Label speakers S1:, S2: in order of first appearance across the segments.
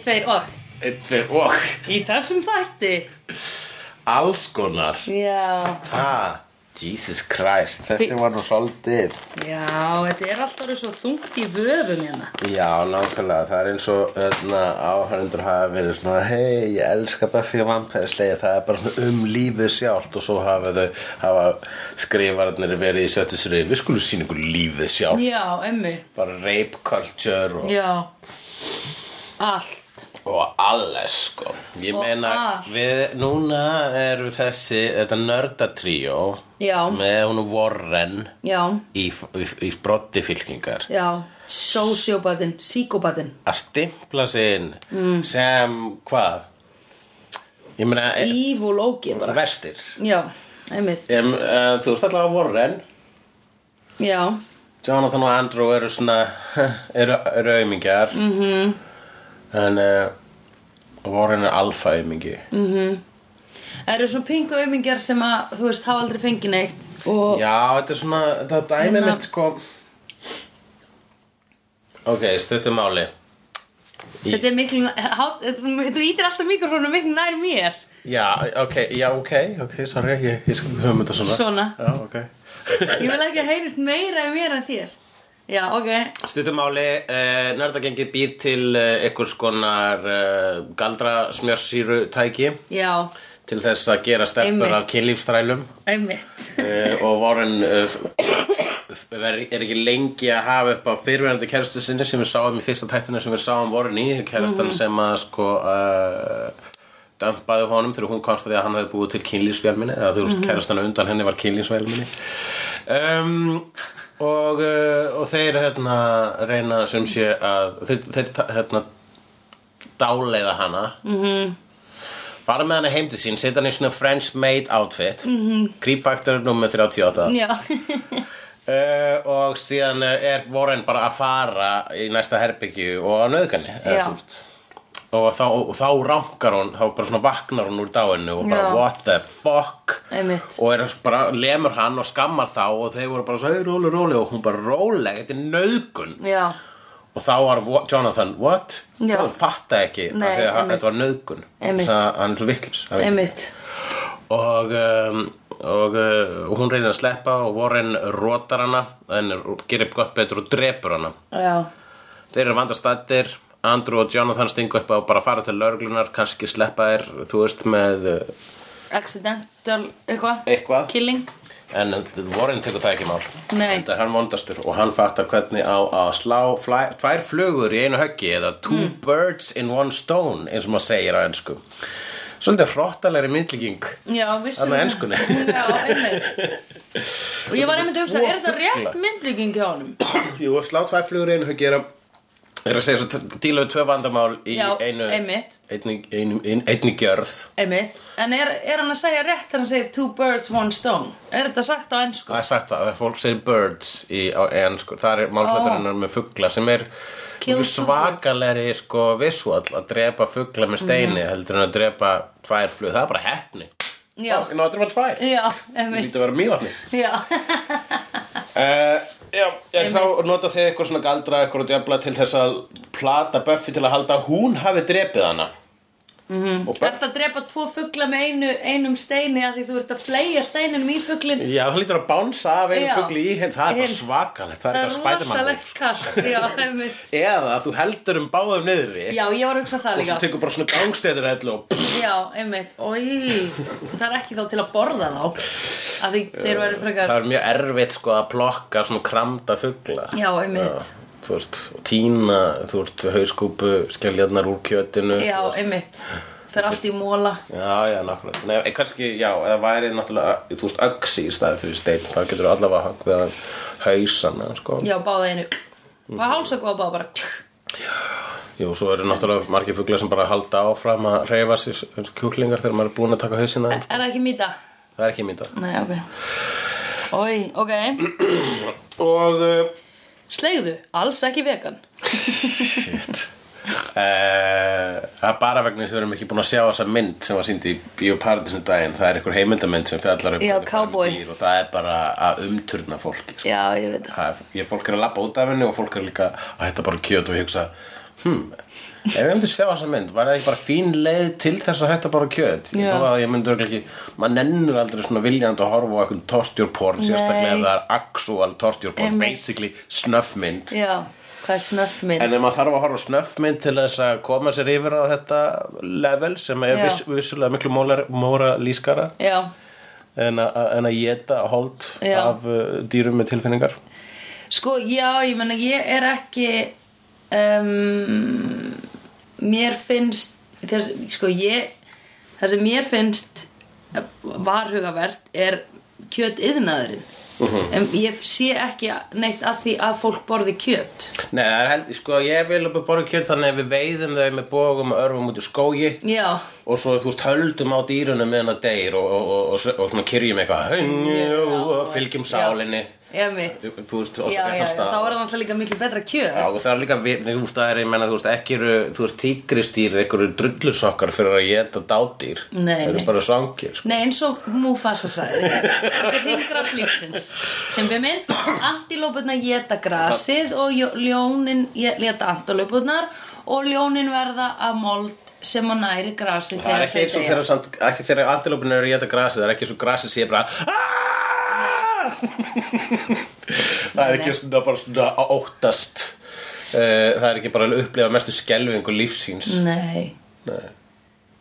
S1: tveir og
S2: Einn, tveir og
S1: Í þessum þætti
S2: Alls konar
S1: Já,
S2: Ha, Jesus Christ Þessi var nú svolítið
S1: já, þetta er alltaf orðið svo þungt í vöfum hérna
S2: Já, nákvæmlega, það er eins og öðna áhærendur hafa verið svona hei, ég elska Buffy og Vampire Slayer það er bara svona um lífið sjálft og svo hafa þau, hafa skrifararnir verið í sjöttisri, við skulum sýna ykkur lífið sjálft,
S1: Já, emmi,
S2: bara rape culture og,
S1: já Allt
S2: og alles sko, ég
S1: Og
S2: meina
S1: allt.
S2: við, núna eru þessi, þetta nördatríó
S1: Já.
S2: með hún Warren
S1: Já,
S2: í, í, í brotti fylkingar
S1: já, sociopatinn, psíkopatinn
S2: að stimpla sig inn sem hvað? Ég meina, e-
S1: Evil ógið bara
S2: verstir
S1: Já, einmitt
S2: um, uh, Þú veist allavega Warren
S1: Já,
S2: Jonathan og Andrew eru svona eru, eru aumingjar mm -hmm. en uh, Warren er alfa aumingi
S1: það eru svona pingu ömingjar sem að, þú veist, hafa aldrei fengið neitt Og
S2: Já, þetta er svona, þetta dæmi
S1: Hérna-
S2: mitt sko Ok, stuttum máli
S1: þetta er miklu, há- þetta- þú ítir alltaf mikrofónu miklu nær mér
S2: Já, ok, já, ok, ok, sorry, ég, ég skal höfum þetta svona
S1: Svona.
S2: Já, ok
S1: Ég vil ekki að heyrist meira í mér en þér Já, ok,
S2: Stuttumáli, uh, nördagengið býr til uh, einhvers konar uh, galdra smjörsýru tæki
S1: já,
S2: til þess að gera stelpur
S1: Einmitt.
S2: af kynlífstrælum
S1: einmitt
S2: uh, og Warren uh, f- er er ekki lengi að hafa upp á fyrirverandi kæristu sinni sem við sáum í fyrsta tættinu sem við sáum Warren í kærastan sem að sko uh, dömpaði honum þegar hún komst að því að hann hefði búið til kynlífsvélminni eða þú veist kærastan á undan henni var kynlífsvélminni um, og, uh, og þeir hérna reyna sem sé að þeir, þeir ta- hérna dáleiða hana
S1: Mhm.
S2: fara með hana heim til sín, setja hann í svona French maid outfit mm
S1: Mhm.
S2: -hmm. creepfaktor nummer 38
S1: Já,
S2: Uh, og síðan uh, er Warren bara að fara í næsta herbyggju og á nöðgani
S1: Já.
S2: og þá, og þá rankar hún þá bara svona vaknar hún úr dáinu og bara
S1: Já.
S2: what the fuck
S1: Einmitt.
S2: og er bara lemur hann og skammar þá og þeir voru bara svo hey, róli, róli og hún bara róleg, þetta er nöðgun
S1: já,
S2: og þá var Wa- Jonathan, what?
S1: Já.
S2: hún fatta ekki
S1: Nei,
S2: af því að hann-
S1: einmitt.
S2: þetta var nöðgun
S1: Einmitt.
S2: Þess að hann er svo vitlis
S1: einmitt
S2: og, um, og uh, hún reynir að sleppa og Warren rótar hana en gerir upp gott betur og drepur hana
S1: Já,
S2: þeir eru vandastattir Andrew og Jonathan stingu upp á bara fara til lauruglunar kannski sleppa þér, þú veist, með uh,
S1: accidental eitthvað
S2: Eitthvað.
S1: Killing
S2: en Warren tekur það ekki í mál
S1: Nei.
S2: Enda er hann vondastur og hann fattar hvernig á að slá flæ, tvær flugur í einu höggi eða two
S1: Mm.
S2: birds in one stone eins og maður segir á ennsku svolítið hróttalegri myndlíking
S1: Já, vissum
S2: Þarna
S1: það.
S2: enskunni.
S1: Já, einmitt Og ég var einmitt að hugsa,
S2: Tvo
S1: er það
S2: fugla.
S1: rétt myndlíking hjá honum?
S2: Jú, að slá tvær flugur í einu höggi er að er að segja svo t- díla við tvö vandamál í
S1: Já,
S2: einu
S1: einmitt.
S2: einni, einu, ein, einni gjörð
S1: Einmitt En er, er hann að segja rétt þegar hann segir two birds, one stone? Er þetta sagt á ennsku?
S2: Það er sagt það, fólk segir birds í, á ennsku, það er málfætturinnar með fugla sem er
S1: Kill two
S2: svakalegri sko visual að drepa fugla með steini
S1: Mm.
S2: heldur en að drepa tvær flug, það er bara heppni
S1: Já,
S2: Ég ná að drepa tvær,
S1: já,
S2: það
S1: einmitt
S2: lítið að vera mjög vatni
S1: Já,
S2: Uh, já, en þá nota þið eitthvað svona galdra eitthvað og djöfla til þess að plata Buffy til að halda að hún hafi drepið hana mm -hmm.
S1: Þetta að drepa tvo fugla með einu, einum steini að því þú ert að fleia steininum í fuglin
S2: Já, það lítur að bánsa af
S1: Já.
S2: einum fugli í henn, það er bara
S1: Hinn.
S2: svakalegt, það
S1: Það
S2: er
S1: er
S2: bara spædermann
S1: rosalegt kallt Já, einmitt
S2: Eða að þú heldur um báðum niðri
S1: Já, ég var að hugsa það
S2: og þú
S1: líka
S2: tekur bara svona gangstæður hellu og pff,
S1: Já, einmitt Ói, það er ekki þá til að borða þá að því þeir verður frekar
S2: það er mjög erfitt sko að plokka svona kramda fugla.
S1: Já, einmitt.
S2: Já, þú veist, og tína, þú veist, hauskúpu, skelljarnar úr kjötinu.
S1: Já,
S2: þú veist.
S1: einmitt Fer allt í móla
S2: Já, já, nákvæmlega. Nei, eh, kannski, já, eða væri náttúrulega, þú veist, öksi í staði fyrir stein, þá getur þú allavega höggvið að hausana, sko.
S1: Já, báða einu
S2: Mm.
S1: Hvað hálsöku á báða bara tjú.
S2: Jú, svo eru náttúrulega margir fuglar sem bara halda áfram að reyfa sér eins og kjúklingar þegar maður er búinn að taka hausina.
S1: Er það ekki mýta?
S2: Það er ekki mynda.
S1: Nei, ok Ói, ok
S2: Og, uh,
S1: Slegðu, alls ekki vegan
S2: shit, Eh, það er bara vegna þess að við erum ekki búin að sjá þessa mynd sem var síndi í Bíóparadísum daginn. Það er einhver heimildamynd sem fjallar um
S1: Já,
S2: hvernig farið
S1: cowboy.
S2: dýr og það er bara að umturna fólki, sko.
S1: Já, ég veit það
S2: Það er, ég, fólk er að labba út af henni og fólk er líka að hætta bara kjöt og hugsa hmm, Ef ég myndi sjá þessa mynd, var það ekki bara fín leið til þess að hætta bara kjöt? Ég
S1: Já.
S2: tók að ég myndi örugglega ekki, maður nennur aldrei svona viljandi að horfa á eitthvað tortjórporn, sérstaklega ef það er actual tortjórporn,
S1: Einmitt.
S2: basically snöffmynd.
S1: Já, hvað er snöffmynd?
S2: En ef maður þarf að horfa á snöffmynd til þess að koma sér yfir á þetta level sem er
S1: Já.
S2: viss, vissulega miklu mólar, móra lískara
S1: Já,
S2: en að, en að geta hold
S1: Já.
S2: af uh, dýrum með tilfinningar.
S1: sko, já, ég menna, ég er ekki, um, mér finnst, þess, sko, ég, það sem mér finnst varhugavert er kjöt yðnaðurinn. En ég sé ekki neitt að því að fólk borði kjöt.
S2: Nei, það er held, sko, ég vil upp að borða kjöt þannig að við veiðum þau með bógum og örfum út í skógi
S1: Já,
S2: og svo þú veist höldum á dýrunum meðan að deyr og, og, og, og, og, svona kyrjum eitthvað
S1: Já.
S2: og fylgjum sálinni
S1: ég mitt.
S2: þú veist, og
S1: Já,
S2: svo
S1: já,
S2: eitthvað
S1: þá
S2: stað
S1: er það náttúrulega líka miklu betra kjöt.
S2: Já, og það er líka, við- þú veist, það er, ég menna, þú veist, ekki eru, þú veist, tígristýr, einhverju drullusokkar fyrir að geta dádýr.
S1: Nei,
S2: Það eru
S1: nei.
S2: bara svangir, sko.
S1: Nei, eins og Mufasa sagði Þetta er hingra flýtsins sem við minn, antilópurnar geta grasið og ljó- ljónin geta antilópurnar og ljónin verða að mold sem að næri grasið
S2: Það er ekki eins og
S1: deyja.
S2: þegar, samt, ekki þegar antilópinu eru að geta grasið, það er ekki eins og grasið sé bara "Ah!" Það er ekki svona bara svona að óttast, uh, það er ekki bara að upplifa mestu skelfingu lífsíns.
S1: Nei,
S2: Nei.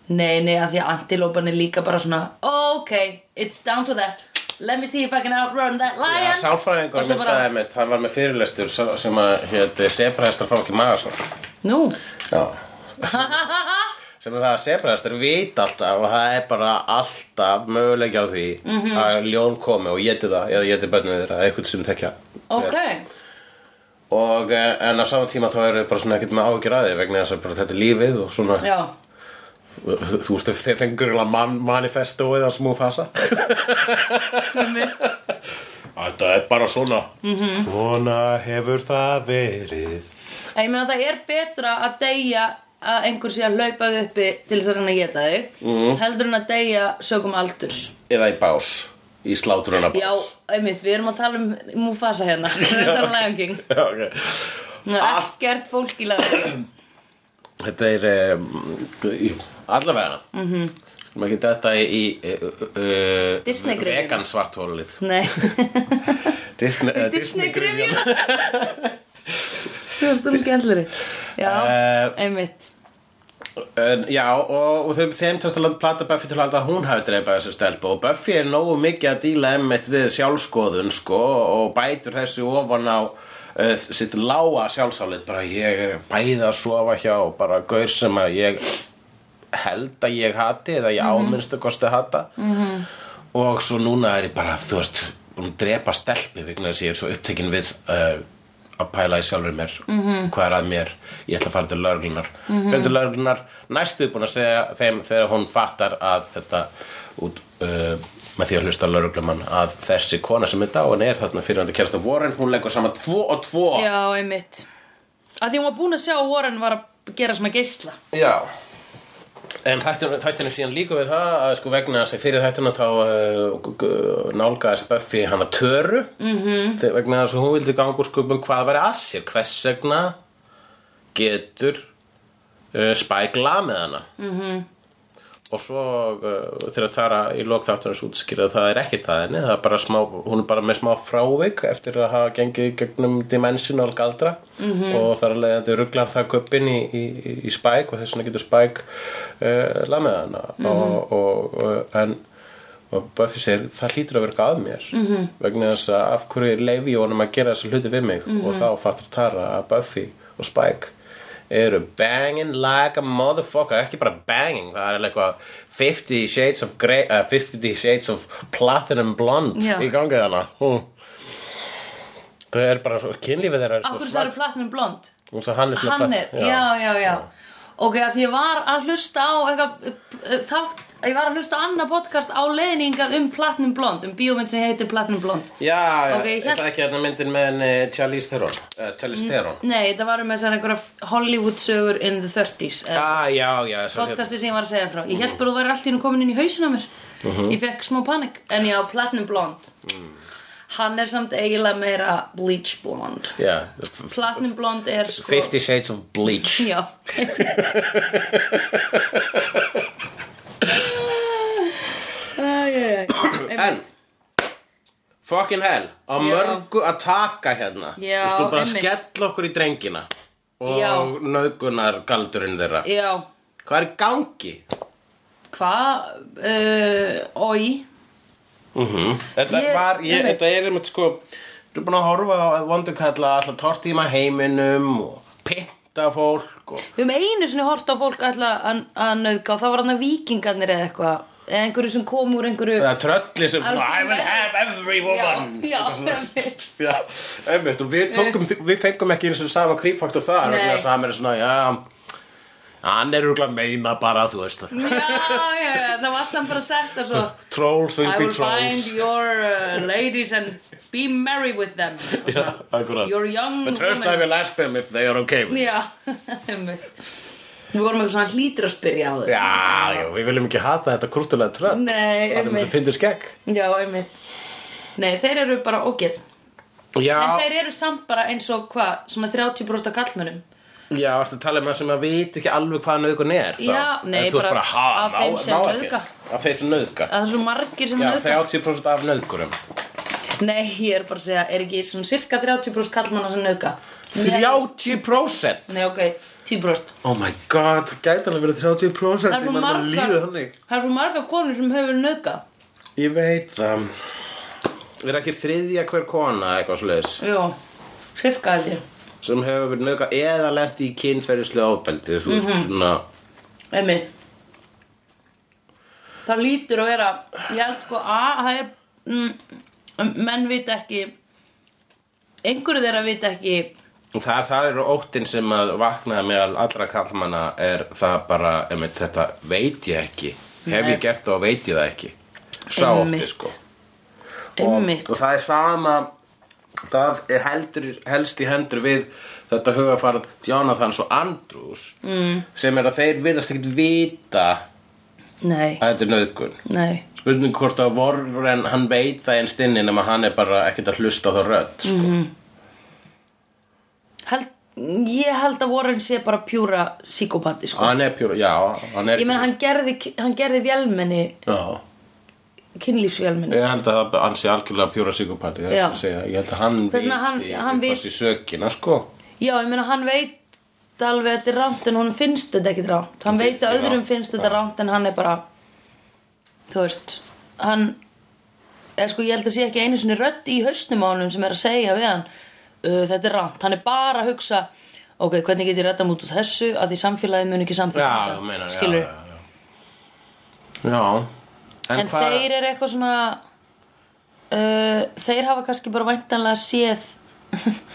S1: nei, nei, að því að antilópan er líka bara svona Ok, it's down to that Let me see if I can outrun that
S2: Já,
S1: lion
S2: sálfræðingur
S1: Og svo
S2: minn
S1: bara-
S2: sagði mitt, hann var með fyrirlestur sem- sem að, hétt, sebrahestar fá ekki magasár.
S1: Nú,
S2: Já.
S1: ha ha ha ha
S2: sem er það að sebrahestar vita alltaf og það er bara alltaf möguleik á því
S1: Mhm.
S2: að ljón komi og geti það eða geti bönnið þeirra, eitthvað sem þekkja
S1: Ok,
S2: og eh, en á sama tíma þá eru þau bara svona ekkert með áhyggjur að því vegna þess að bara þetta er lífið og svona
S1: já
S2: þú veist þau- þeir fengur man manifestoið að smú fasa þetta er bara svona -hmm.
S1: Mhm.
S2: svona hefur það verið
S1: En Ég meina það er betra að deyja að einhver sé að hlaupa þig uppi til þess að reyna að geta þig
S2: Mhm.
S1: heldur en að deyja sögum aldurs
S2: eða í bás, í sláturuna
S1: Já, einmitt, við erum að tala um Mufasa hérna, við erum að tala um Lion King
S2: Já, Ah. ok.
S1: Nú, Ekkert fólk í lagur
S2: Þetta er um, jú, allavega mm
S1: Mhm.
S2: -hmm. Skulum ekki þetta í, í uh, uh,
S1: Disney-gryfjuna.
S2: vegan svarthólið
S1: Nei,
S2: Disney, uh,
S1: Disney-gryfjuna. þú erst um skemmtlari Já,
S2: Eh,
S1: einmitt
S2: En, já, og, og þeim, þeim tæst að láta plata Buffy til að halda að hún hafi dreipað þessu stelpu og Buffy er nógu mikið að díla emmitt við sjálfskoðun, sko, og bætur þessu ofan á uh, sitt lága sjálfsálit, bara ég er bæði að sofa hjá, bara gaur sem að ég held að ég hati eða ég áminnstu kosti hata -hmm. og svo núna er ég bara, þú veist, búin að drepa stelpu vegna þess að ég er svo upptekinn við uh, að pæla í sjálfur mér -hmm. hvað er að mér, ég ætla að fara til lauruglunar mm -hmm. fyrir til lauruglunar, næstu búin að segja þeim þegar hún fattar að þetta út uh, með því að hlusta á lauruglumann að þessi kona sem er dáin er þarna fyrir hann að kerast á vorin hún leggur saman tvo og tvo
S1: Já, einmitt Að því hún var búin að sjá að Warren var að gera svona geisla
S2: Já En þættinu, þættinu síðan líka við það að sko vegna þess að fyrir þættinu þá uh, nálgaðist Buffy hana töru mm -hmm. vegna þess að hún vildi ganga úr skupum hvað væri að sér, hvers vegna getur uh, spækla með hana mm -hmm. og svo uh, þegar Tara í lok þáttunum svo útskýrði að það er ekki það henni, það er bara smá, hún er bara með smá frávik eftir að hafa gengið í gegnum dimensional galdra -hmm. og þar að leiðandi rugglar það guppin í, í, í- í spæk og þess vegna getur spæk uh, lamið hana og, og, og, en og Buffy segir það hlýtur að vera eitthvað að mér -hmm. vegna þess að af hverju leifi ég honum að gera þessa hluti við mig og þá fattar Tara að Buffy og Spike eru banging like a motherfucker ekki bara banging, það er eitthvað 50 shades of, grey, uh, 50 shades of platinum blonde
S1: Já.
S2: í gangi þarna hm. það er bara svo kynlífið þeirra er svo
S1: Akkur
S2: svak-
S1: sagði platnum blond
S2: Hún sagði hann er svona
S1: hann er,
S2: plat-
S1: já, já, já, ok, að því ég var að hlusta á eitthvað, uh, þátt, ég var að hlusta á annað podcast á leðningað um Platinum Blond, um bíómynd sem heitir Platinum Blond
S2: Já, já,
S1: Ok, ég
S2: okay,
S1: hélt-
S2: það ekki hérna myndin með henni Charlize Theron uh,
S1: Mm.
S2: Charlize Theron
S1: nei, þetta var um þessar einhverja Hollywood sögur in the 30s ja,
S2: Já, Ah, já, já svo hérna-
S1: podcasti sem ég var að segja frá ég held bara Mhm. Mm. þú væri allt í hennu komin inn í hausina á mér ég fekk smá panik, en já, Platinum Blond hann er samt eiginlega meira bleach blonde
S2: Já,
S1: platinum blonde er sko
S2: 50 Shades of Bleach
S1: já Æ, æ, æ.
S2: En Fucking hell Á mörgu að taka hérna
S1: Já,
S2: Við skulum bara
S1: einmitt.
S2: skella okkur í drengina Og
S1: Já.
S2: nöðgunar galdurinn þeirra
S1: já
S2: Hvað er í gangi?
S1: hvað uh, oi
S2: Þetta
S1: Ég-
S2: var, ég,
S1: einmitt.
S2: þetta er einmitt sko Þú er búin að horfa á vondukalla Alltaf tortíma heiminum Og pynta fólk og,
S1: Við höfum einu sinni hort á fólk ætla að, að nauðga og það var hann að vikingarnir eða eitthvað eða einhverju sem kom úr einhverju
S2: Það er trölli sem svona,
S1: Alveg
S2: I will
S1: verð-
S2: have every woman
S1: Já, já,
S2: Eitthvað svona.
S1: einmitt.
S2: já, einmitt Og við, tókum, við fengum ekki eins og sama creepfaktor þar
S1: Nei.
S2: vegna þess að hann er svona, já Hann er rúglega meina bara, þú veist það
S1: Já, já, já, það var samt bara að setja svo
S2: Trolls will
S1: I
S2: be
S1: will find
S2: trolls
S1: your uh, ladies and be merry with them Og
S2: Já,
S1: svona,
S2: akkurat
S1: Your young
S2: But first I will ask them if they are okay with it
S1: Já, einmitt. Við vorum eitthvað svona hlýtur að spyrja á þau
S2: Já, já, við viljum ekki hata þetta krútulega tröll
S1: Nei,
S2: Það er um
S1: einmitt.
S2: það fyndir skegg
S1: Já, einmitt Nei, þeir eru bara ógeð
S2: Já,
S1: En þeir eru samt bara eins og hvað, svona 30% af kallmönnum
S2: já, ertu að tala um það sem að veit ekki alveg hvað nauðgun er þá.
S1: Já, nei,
S2: En þú ert
S1: bara
S2: bara, ha,
S1: af
S2: ná-
S1: þeim sem
S2: ná
S1: nauðga.
S2: ekkert. Af þeim sem nauðga
S1: að það er svo margir sem
S2: Já,
S1: nauðga.
S2: 30% af nauðgurum
S1: Nei, ég er bara að segja, er ekki svona cirka 30% kallmanna sem nauka?
S2: 30%
S1: Nei, ok, 10%.
S2: Oh my god, það gæti alveg verið 30%
S1: Það er
S2: ég
S1: svo
S2: man bara lífið
S1: margar,
S2: þannig
S1: það er svo margar konur sem hefur nauka.
S2: Ég veit það Er ekki þriðja hver kona eitthvað slags
S1: Jó, cirka held ég.
S2: sem hefur verið nauðga eða lent í kynferðislega ofbeldi þú
S1: Mhm.
S2: veist, svona
S1: Emmi. Það lítur að vera, ég held sko að það er, mm, menn vita ekki, einhverju þeirra vita ekki,
S2: og það, það eru óttinn sem að vaknaði meðal allra kallmanna er það bara, einmitt, þetta veit ég ekki hef ég gert það og veit ég það ekki sá ótti
S1: Einmitt.
S2: sko og,
S1: emmi.
S2: og það er sama það er heldur, helst í hendur við þetta hugafarð Jonathans og Andrews mm. sem er að þeir virðast ekkert vita
S1: Nei,
S2: að þetta er nöðgun
S1: nei,
S2: spurning hvort að Warren hann veit það einst inni nema hann er bara ekkert að hlusta á það rödd sko.
S1: Mhm. held, ég held að Warren sé bara pjúra psíkopati sko.
S2: hann er pjúr, já hann er
S1: Ég menn hann gerði, hann gerði vélmenni
S2: já
S1: kynlífsvélminni
S2: Ég held að það hann sé algjörlega pjúra psykopati það er
S1: Já.
S2: sem að segja. Ég held að hann
S1: Þess vegna hann- hann
S2: upp
S1: vit-
S2: á sig sökina sko.
S1: já, ég meina hann veit alveg að þetta er rámt en hún finnst þetta ekkit rámt hann
S2: Hún
S1: veit
S2: finnst
S1: að
S2: þetta
S1: öðrum
S2: rangt,
S1: finnst þetta
S2: já.
S1: rámt en hann er bara þú veist hann er sko, ég held að sé ekki einu sinni rödd í hausnum á honum sem er að segja við hann uh, þetta er rámt, hann er bara að hugsa ok, hvernig get ég redda mút út þessu að því samfélagið mun ekki
S2: Já,
S1: samfélagið
S2: þú meinar já,
S1: skilur,
S2: já, já. já En,
S1: en,
S2: hvað-
S1: þeir eru eitthvað svona uh, þeir hafa kannski bara væntanlega séð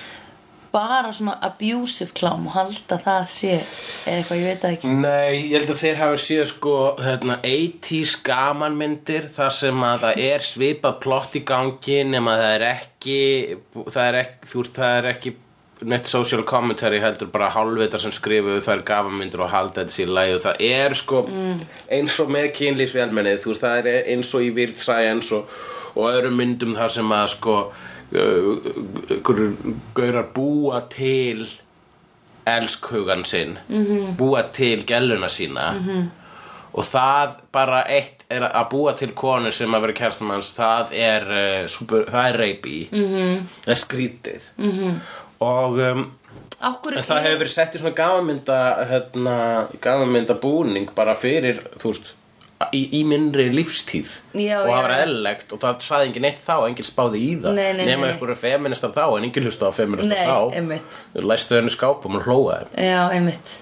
S1: bara svona abusive klám og halda það sé eða eitthvað, ég veit það ekki
S2: Nei, ég held að þeir hafi séð sko hérna, 80s gamanmyndir þar sem að það er svipað plott í gangi nema það er ekki það er ekki, þú veist, það er ekki neitt social commentary heldur bara hálfvitar sem skrifuðu þær gamanmyndir og halda þetta sér lægi og það er sko eins og með kynlýsvélmennið þú veist, það er eins og í Weird Science og, og öðrum myndum þar sem að sko uh, einhverjir gaurar búa til elskhugan sinn -hmm. búa til gelluna sína -hmm. og það bara eitt er að búa til konu sem að vera kerstum hans það er, uh, super, það er reipi -hmm. það er skrítið -hmm. og um,
S1: Akkur,
S2: en það hefur verið sett í svona gafamynda hérna, gafamynda búning bara fyrir þú veist Í, í minnri lífstíð
S1: Já, já,
S2: og það var
S1: já.
S2: eðlegt og það sagði enginn eitt þá, enginn spáði í það
S1: Nei, nei,
S2: nema
S1: nei.
S2: einhverju feministar þá en enginn hlusta á feministar
S1: Nei,
S2: þá
S1: einmitt.
S2: læstu henni skápum og hlóaði
S1: já, einmitt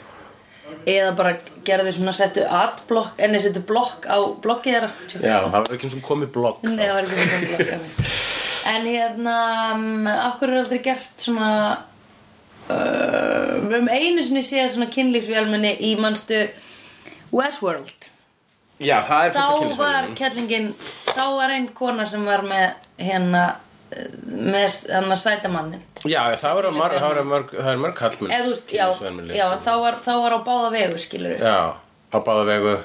S1: eða bara gerðu svona settu adblock, enni settu blokk á blokkið þeirra
S2: Já, það var ekki eins og komið blogg
S1: Nei, það var ekki svona blokk einmitt. en hérna um, akkur er aldrei gert svona uh, við höfum einu sinni séð svona kynlífsvélmenni í manstu Westworld
S2: Já, það er fyrsta
S1: þá var
S2: kynlisverðin
S1: kellingin þá var einn kona sem var með hérna eh, með hann að sæta mannin
S2: Já, það var mörg, það var mörg, það var mörg kallmenn
S1: Eð, veist, já, já, þá, var, þá var á báða vegu skilur
S2: já, á báða vegu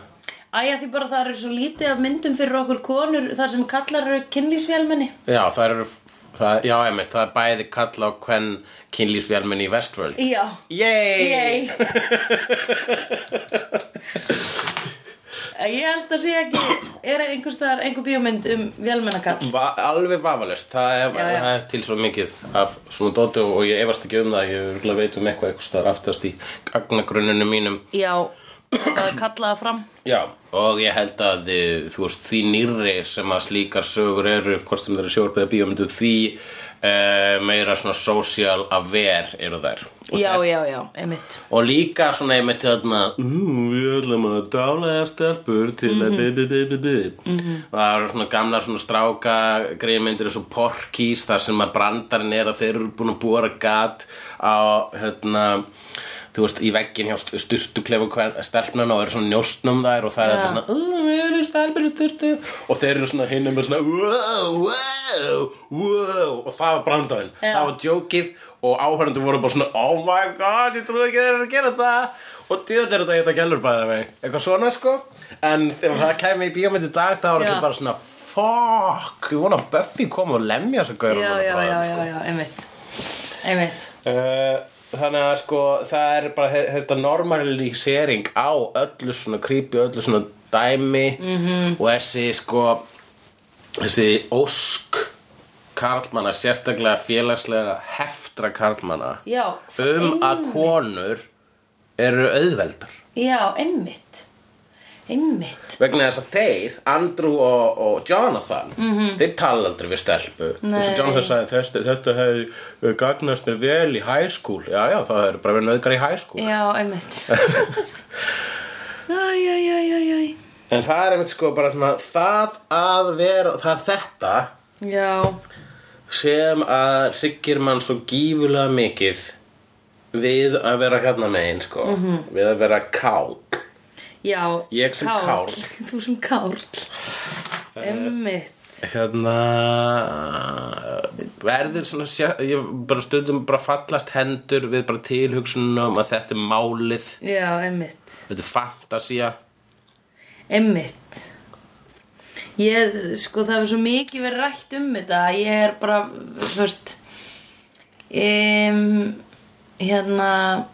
S1: Æja því bara það eru svo lítið af myndum fyrir okkur konur þar sem kallar eru kynlífsvélmenni
S2: Já, það eru Það, já, einmitt, það er bæði kalla á hvern kynlýsvélmenni í Westworld
S1: Já
S2: Yay!
S1: Yay Ég held að sé ekki Er einhvers staðar einhver bíómynd um vélmennakall
S2: Va alveg vafalust, það er,
S1: Já, já.
S2: það er til svo mikið af svona dóti og, og ég efast ekki um það, ég örugglega veit um eitthvað eitthvað staðar aftast í gagnagrunninu mínum
S1: Já, það er kallaða fram
S2: Já, og ég held að eh, þú veist, því nýrri sem að slíkar sögur eru, hvort sem það eru sjórbæða bíómyndu, því eh, meira svona social aware eru þær. Og,
S1: Já, já, já, einmitt
S2: og líka svona einmitt til þarna, "Ú, við ætlum að dálæða stelpur til að bi bi bi bi bi. Það eru svona gamla svona stráka greiðmyndir eins og porkís þar sem að brandarinn er að þeir eru búin að búa gat á, hérna, þú veist, í veggin hjá styrtuklefa stelpnana og eru svona njóstnum þær og það er
S1: Já.
S2: þetta svona "Ú, við erum stelpur í styrtu og þeir eru svona hinum með svona wow, wow, wow og það var brandarinn,
S1: Já.
S2: það var djókið og áhörndu voru bara svona oh my god, ég trúi ekki þeir eru að gera þetta og djöð er þetta hérna gælur bæða mig eitthvað svona sko en þegar það kæmi í bíómynd í dag þá var
S1: Já.
S2: þetta bara svona fuck, ég vona að Buffy kom og sko." lemja þessu
S1: Já,
S2: gaurum
S1: já, já, já, já, einmitt Einmitt
S2: Eh, Þannig að sko það er bara þe- þetta normalisering á öllu svona creepy, öllu svona dæmi
S1: Mhm.
S2: -hmm. og þessi sko þessi ósk karlmanna, sérstaklega félagslega heftra karlmanna
S1: Já,
S2: um að
S1: einmitt.
S2: konur eru auðveldar
S1: Já, einmitt Einmitt
S2: vegna þess að þeir, Andrew og, og Jonathan -hmm. þeir tala aldrei við stelpu
S1: Mhm. Nei.
S2: eins og Jonathan sagði "Þessi- þetta hefði gagnast mér vel í high school já já það er bara verið nöðgar í high school
S1: Já, einmitt Æ, æ, æ, æ, æ
S2: en það er einmitt sko bara svona, það að vera það er þetta
S1: Já,
S2: sem að hryggir mann svo gífulega mikið við að vera hérna megin sko
S1: Mhm.
S2: -hmm. við að vera kál
S1: já
S2: Ég sem Eh.
S1: kárl.
S2: kárl.
S1: Þú sem kárl Einmitt
S2: hérna verður svona sjá- ég bara stundum bara fallast hendur við bara tilhugsunum að þetta er málið
S1: Já, einmitt
S2: þetta er fantasía
S1: Einmitt Ég, sko, það hefur svo mikið verið rætt um þetta að Ég er bara, þú veist um, Hérna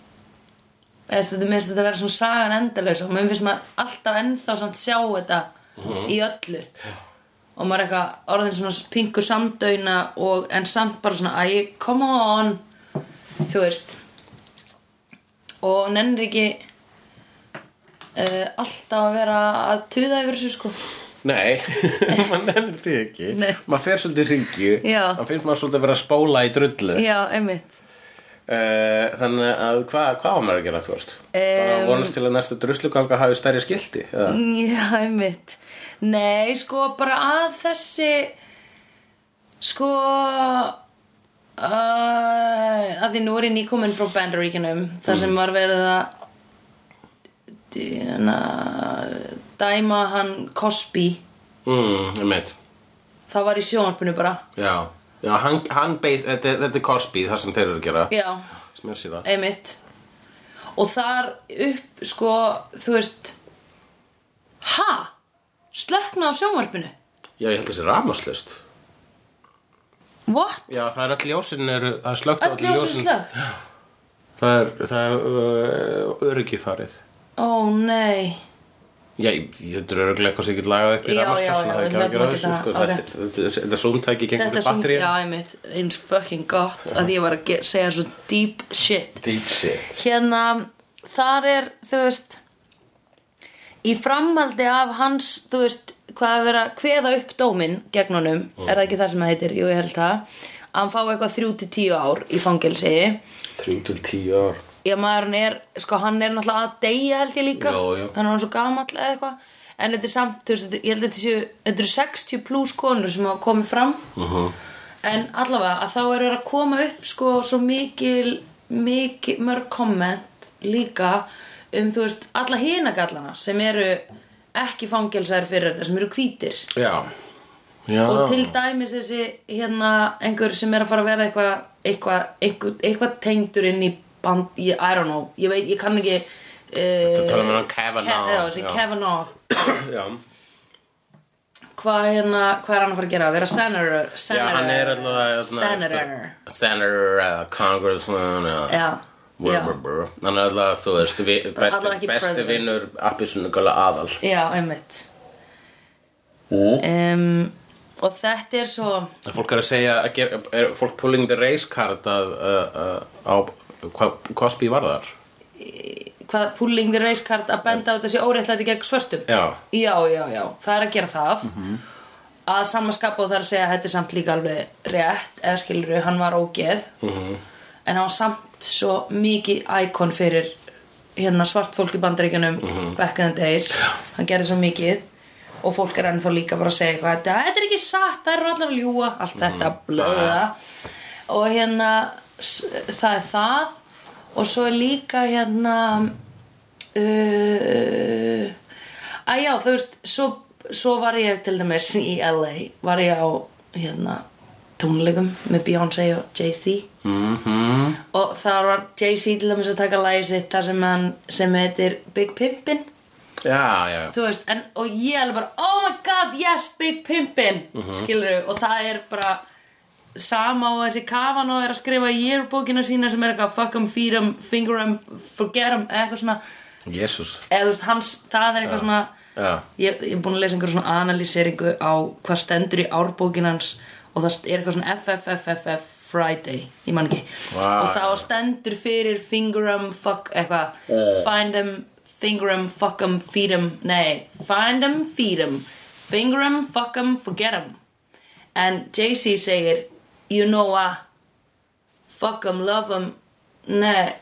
S1: eða Þetta mér finnst þetta að vera svona sagan endalaus og mér finnst maður alltaf ennþá samt sjá þetta í öllu og maður er eitthvað orðin svona pingu samdöina og, en samt bara svona að ég, come on þú veist og nennir ekki uh, alltaf að vera að tuða yfir þessu sko
S2: nei, maður nefnir því ekki
S1: Nei.
S2: maður fer svolítið ringju
S1: Já.
S2: maður finnst maður svolítið að vera að spóla í drullu uh,
S1: Já, einmitt
S2: Eh, þannig að hvað hva á maður að gera þú veist bara vonast til að næsta drusluganga hafi stærri skildi eða
S1: Já, einmitt Nei, sko, bara að þessi sko uh, að því nú er ég nýkomin frá Bandaríkinum þar sem var verið að dýna, dæma hann Cosby
S2: mm, einmitt.
S1: það var í sjónarpinu bara
S2: já, já hann, hann beis, þetta, er- þetta er Cosby þar sem þeir eru að gera
S1: Já,
S2: smjörsíða
S1: einmitt og þar upp sko, þú veist ha, slökna á sjónvarpinu
S2: já, ég held að það sé ramaslust
S1: what,
S2: Já, það er öll ljósin eru, það er slögt á
S1: öll ljósin slökt
S2: Það er, það er uh, öryggi farið.
S1: ó nei,
S2: Já, ég þetta er örugglega eitthvað sem ég get lagað upp í
S1: Já,
S2: rafmagnskassan,
S1: já, já,
S2: það er
S1: við
S2: ekki að gera
S1: hljótum að
S2: þessu,
S1: geta
S2: sko,
S1: það,
S2: þetta- þetta- þetta- þetta zoomtæki gengur
S1: þetta
S2: í
S1: er svona
S2: batteríum.
S1: já, einmitt, eins fucking gott að ég var að ge- segja svo deep shit
S2: Deep shit.
S1: hérna, þar er þú veist í framhaldi af hans þú veist, hvað að vera kveða upp dómin gegn honum, er það ekki það sem það heitir jú, ég held það, að hann fá eitthvað 3-10 ár í fangelsi
S2: 3 til 10 ár.
S1: Já, maðurinn er, sko, hann er náttúrulega að deyja held ég líka
S2: Já, já.
S1: Hann er hann svo gamall eða eitthvað En þetta er samt, þú veist, þetta- ég held að þetta séu Þetta eru 60 pluss konur sem hafa komið fram
S2: Mhm.
S1: En allavega, að þá eru að koma upp, sko, svo mikil, mikil, mörg komment líka Um, þú veist, alla hinagallana sem eru ekki fangelsæðir fyrir þetta Sem eru hvítir
S2: Já. Já.
S1: og til dæmis þessi hérna einhver sem er að fara að vera eitthvað eitthvað eitthva, eitthva tengdur inn í band, ég, I don't know, ég veit, ég kann ekki uh,
S2: Þetta
S1: Þetta
S2: talaðum við um Kavanaugh,
S1: Ke, já, þessi
S2: já.
S1: Kavanaugh
S2: Já.
S1: hvað hérna, hvað er hann að fara að gera? Vera senator,
S2: Já,
S1: senator
S2: hann er alltaf
S1: Senator
S2: Senator eða congressman eða-
S1: Já,
S2: Brr,
S1: já,
S2: brr, brr. Hann er alltaf, þú veist, vi-
S1: Allavega
S2: besti,
S1: ekki
S2: besti
S1: president.
S2: vinnur appisunugala aðal
S1: já, einmitt
S2: mm.
S1: um, Og þetta er svo
S2: Fólk er að segja, að gera, er fólk pulling the race card að, uh, uh, á hvað Cosby varðar
S1: hvað pulling the race card að benda á þessi óréttlæti gegn svörtum
S2: Já,
S1: já, já, já, það er að gera það mm -hmm. að samaskapu það er að segja að þetta er samt líka alveg rétt eða skilur við, hann var ógeð -hmm. en hann var samt svo mikið íkon fyrir hérna svart fólk í bandaríkjunum back in the days, hann gerði svo mikið og fólk er ennþá líka bara að segja eitthvað þetta, þetta er ekki satt, það eru allar að ljúga allt þetta blöða og hérna s- það er það og svo er líka hérna uh, að já þú veist svo, svo var ég til dæmis í LA var ég á hérna tónleikum með Beyoncé og Jay-Z
S2: mhm
S1: og þar var Jay-Z til dæmis að taka lagi sitt þar sem hann sem heitir Big Pimpin
S2: Já, já,
S1: þú veist, en, og ég alveg bara oh my god, yes, Big Pimpin mm og það er bara sama og þessi kafan og er að skrifa í yearbookina sína sem er eitthvað fuck 'em, feed 'em, finger 'em, forget 'em eða eitthvað svona,
S2: jésús
S1: eða þú veist, hans, það er eitthvað svona
S2: Já,
S1: ég, ég er búin að lesa einhverjum svona analýseringu á hvað stendur í árbókinans og það er eitthvað svona FFFFF Friday, ég man ekki
S2: Vá,
S1: og þá stendur fyrir finger 'em, fuck, eitthvað find 'em, finger 'em, fuck 'em, feed 'em nei, find 'em, feed 'em finger 'em, fuck 'em, forget 'em en Jay-Z segir you know a fuck 'em, love 'em nei,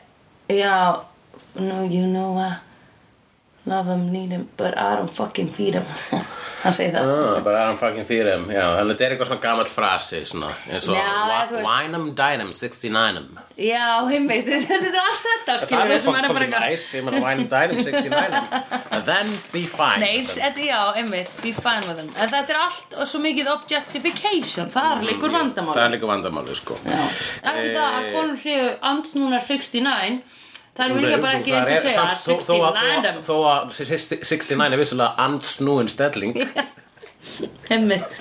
S1: já no, you know a Love him, need him, but I don't fucking feed him Hann segir það
S2: ah, bara Aram fucking fyrir þeim Já, þannig að þetta er eitthvað svona gamall frasi svona, eins og
S1: Já, eða þú veist-
S2: Winem, Dinem, 69em
S1: Já, heimveit, þetta er allt þetta
S2: Það
S1: skilur við
S2: er
S1: sem er
S2: svona
S1: bara
S2: svolítið næs, ég meina Winem, Dinem, 69em And then be fine
S1: Nei, þetta, já, einmitt, be fine with him En þetta er allt og svo mikið objectification Þar liggur vandamál
S2: Mm, Það er Eh. líka vandamáli, sko
S1: Já. Ekki það að konur séu andnúna 69 Það er líka bara ekki
S2: Það
S1: einhver
S2: er
S1: að segja
S2: samt- þó- þó að-
S1: 69 random
S2: Þó að 69 er vissulega andsnúin stelling
S1: Einmitt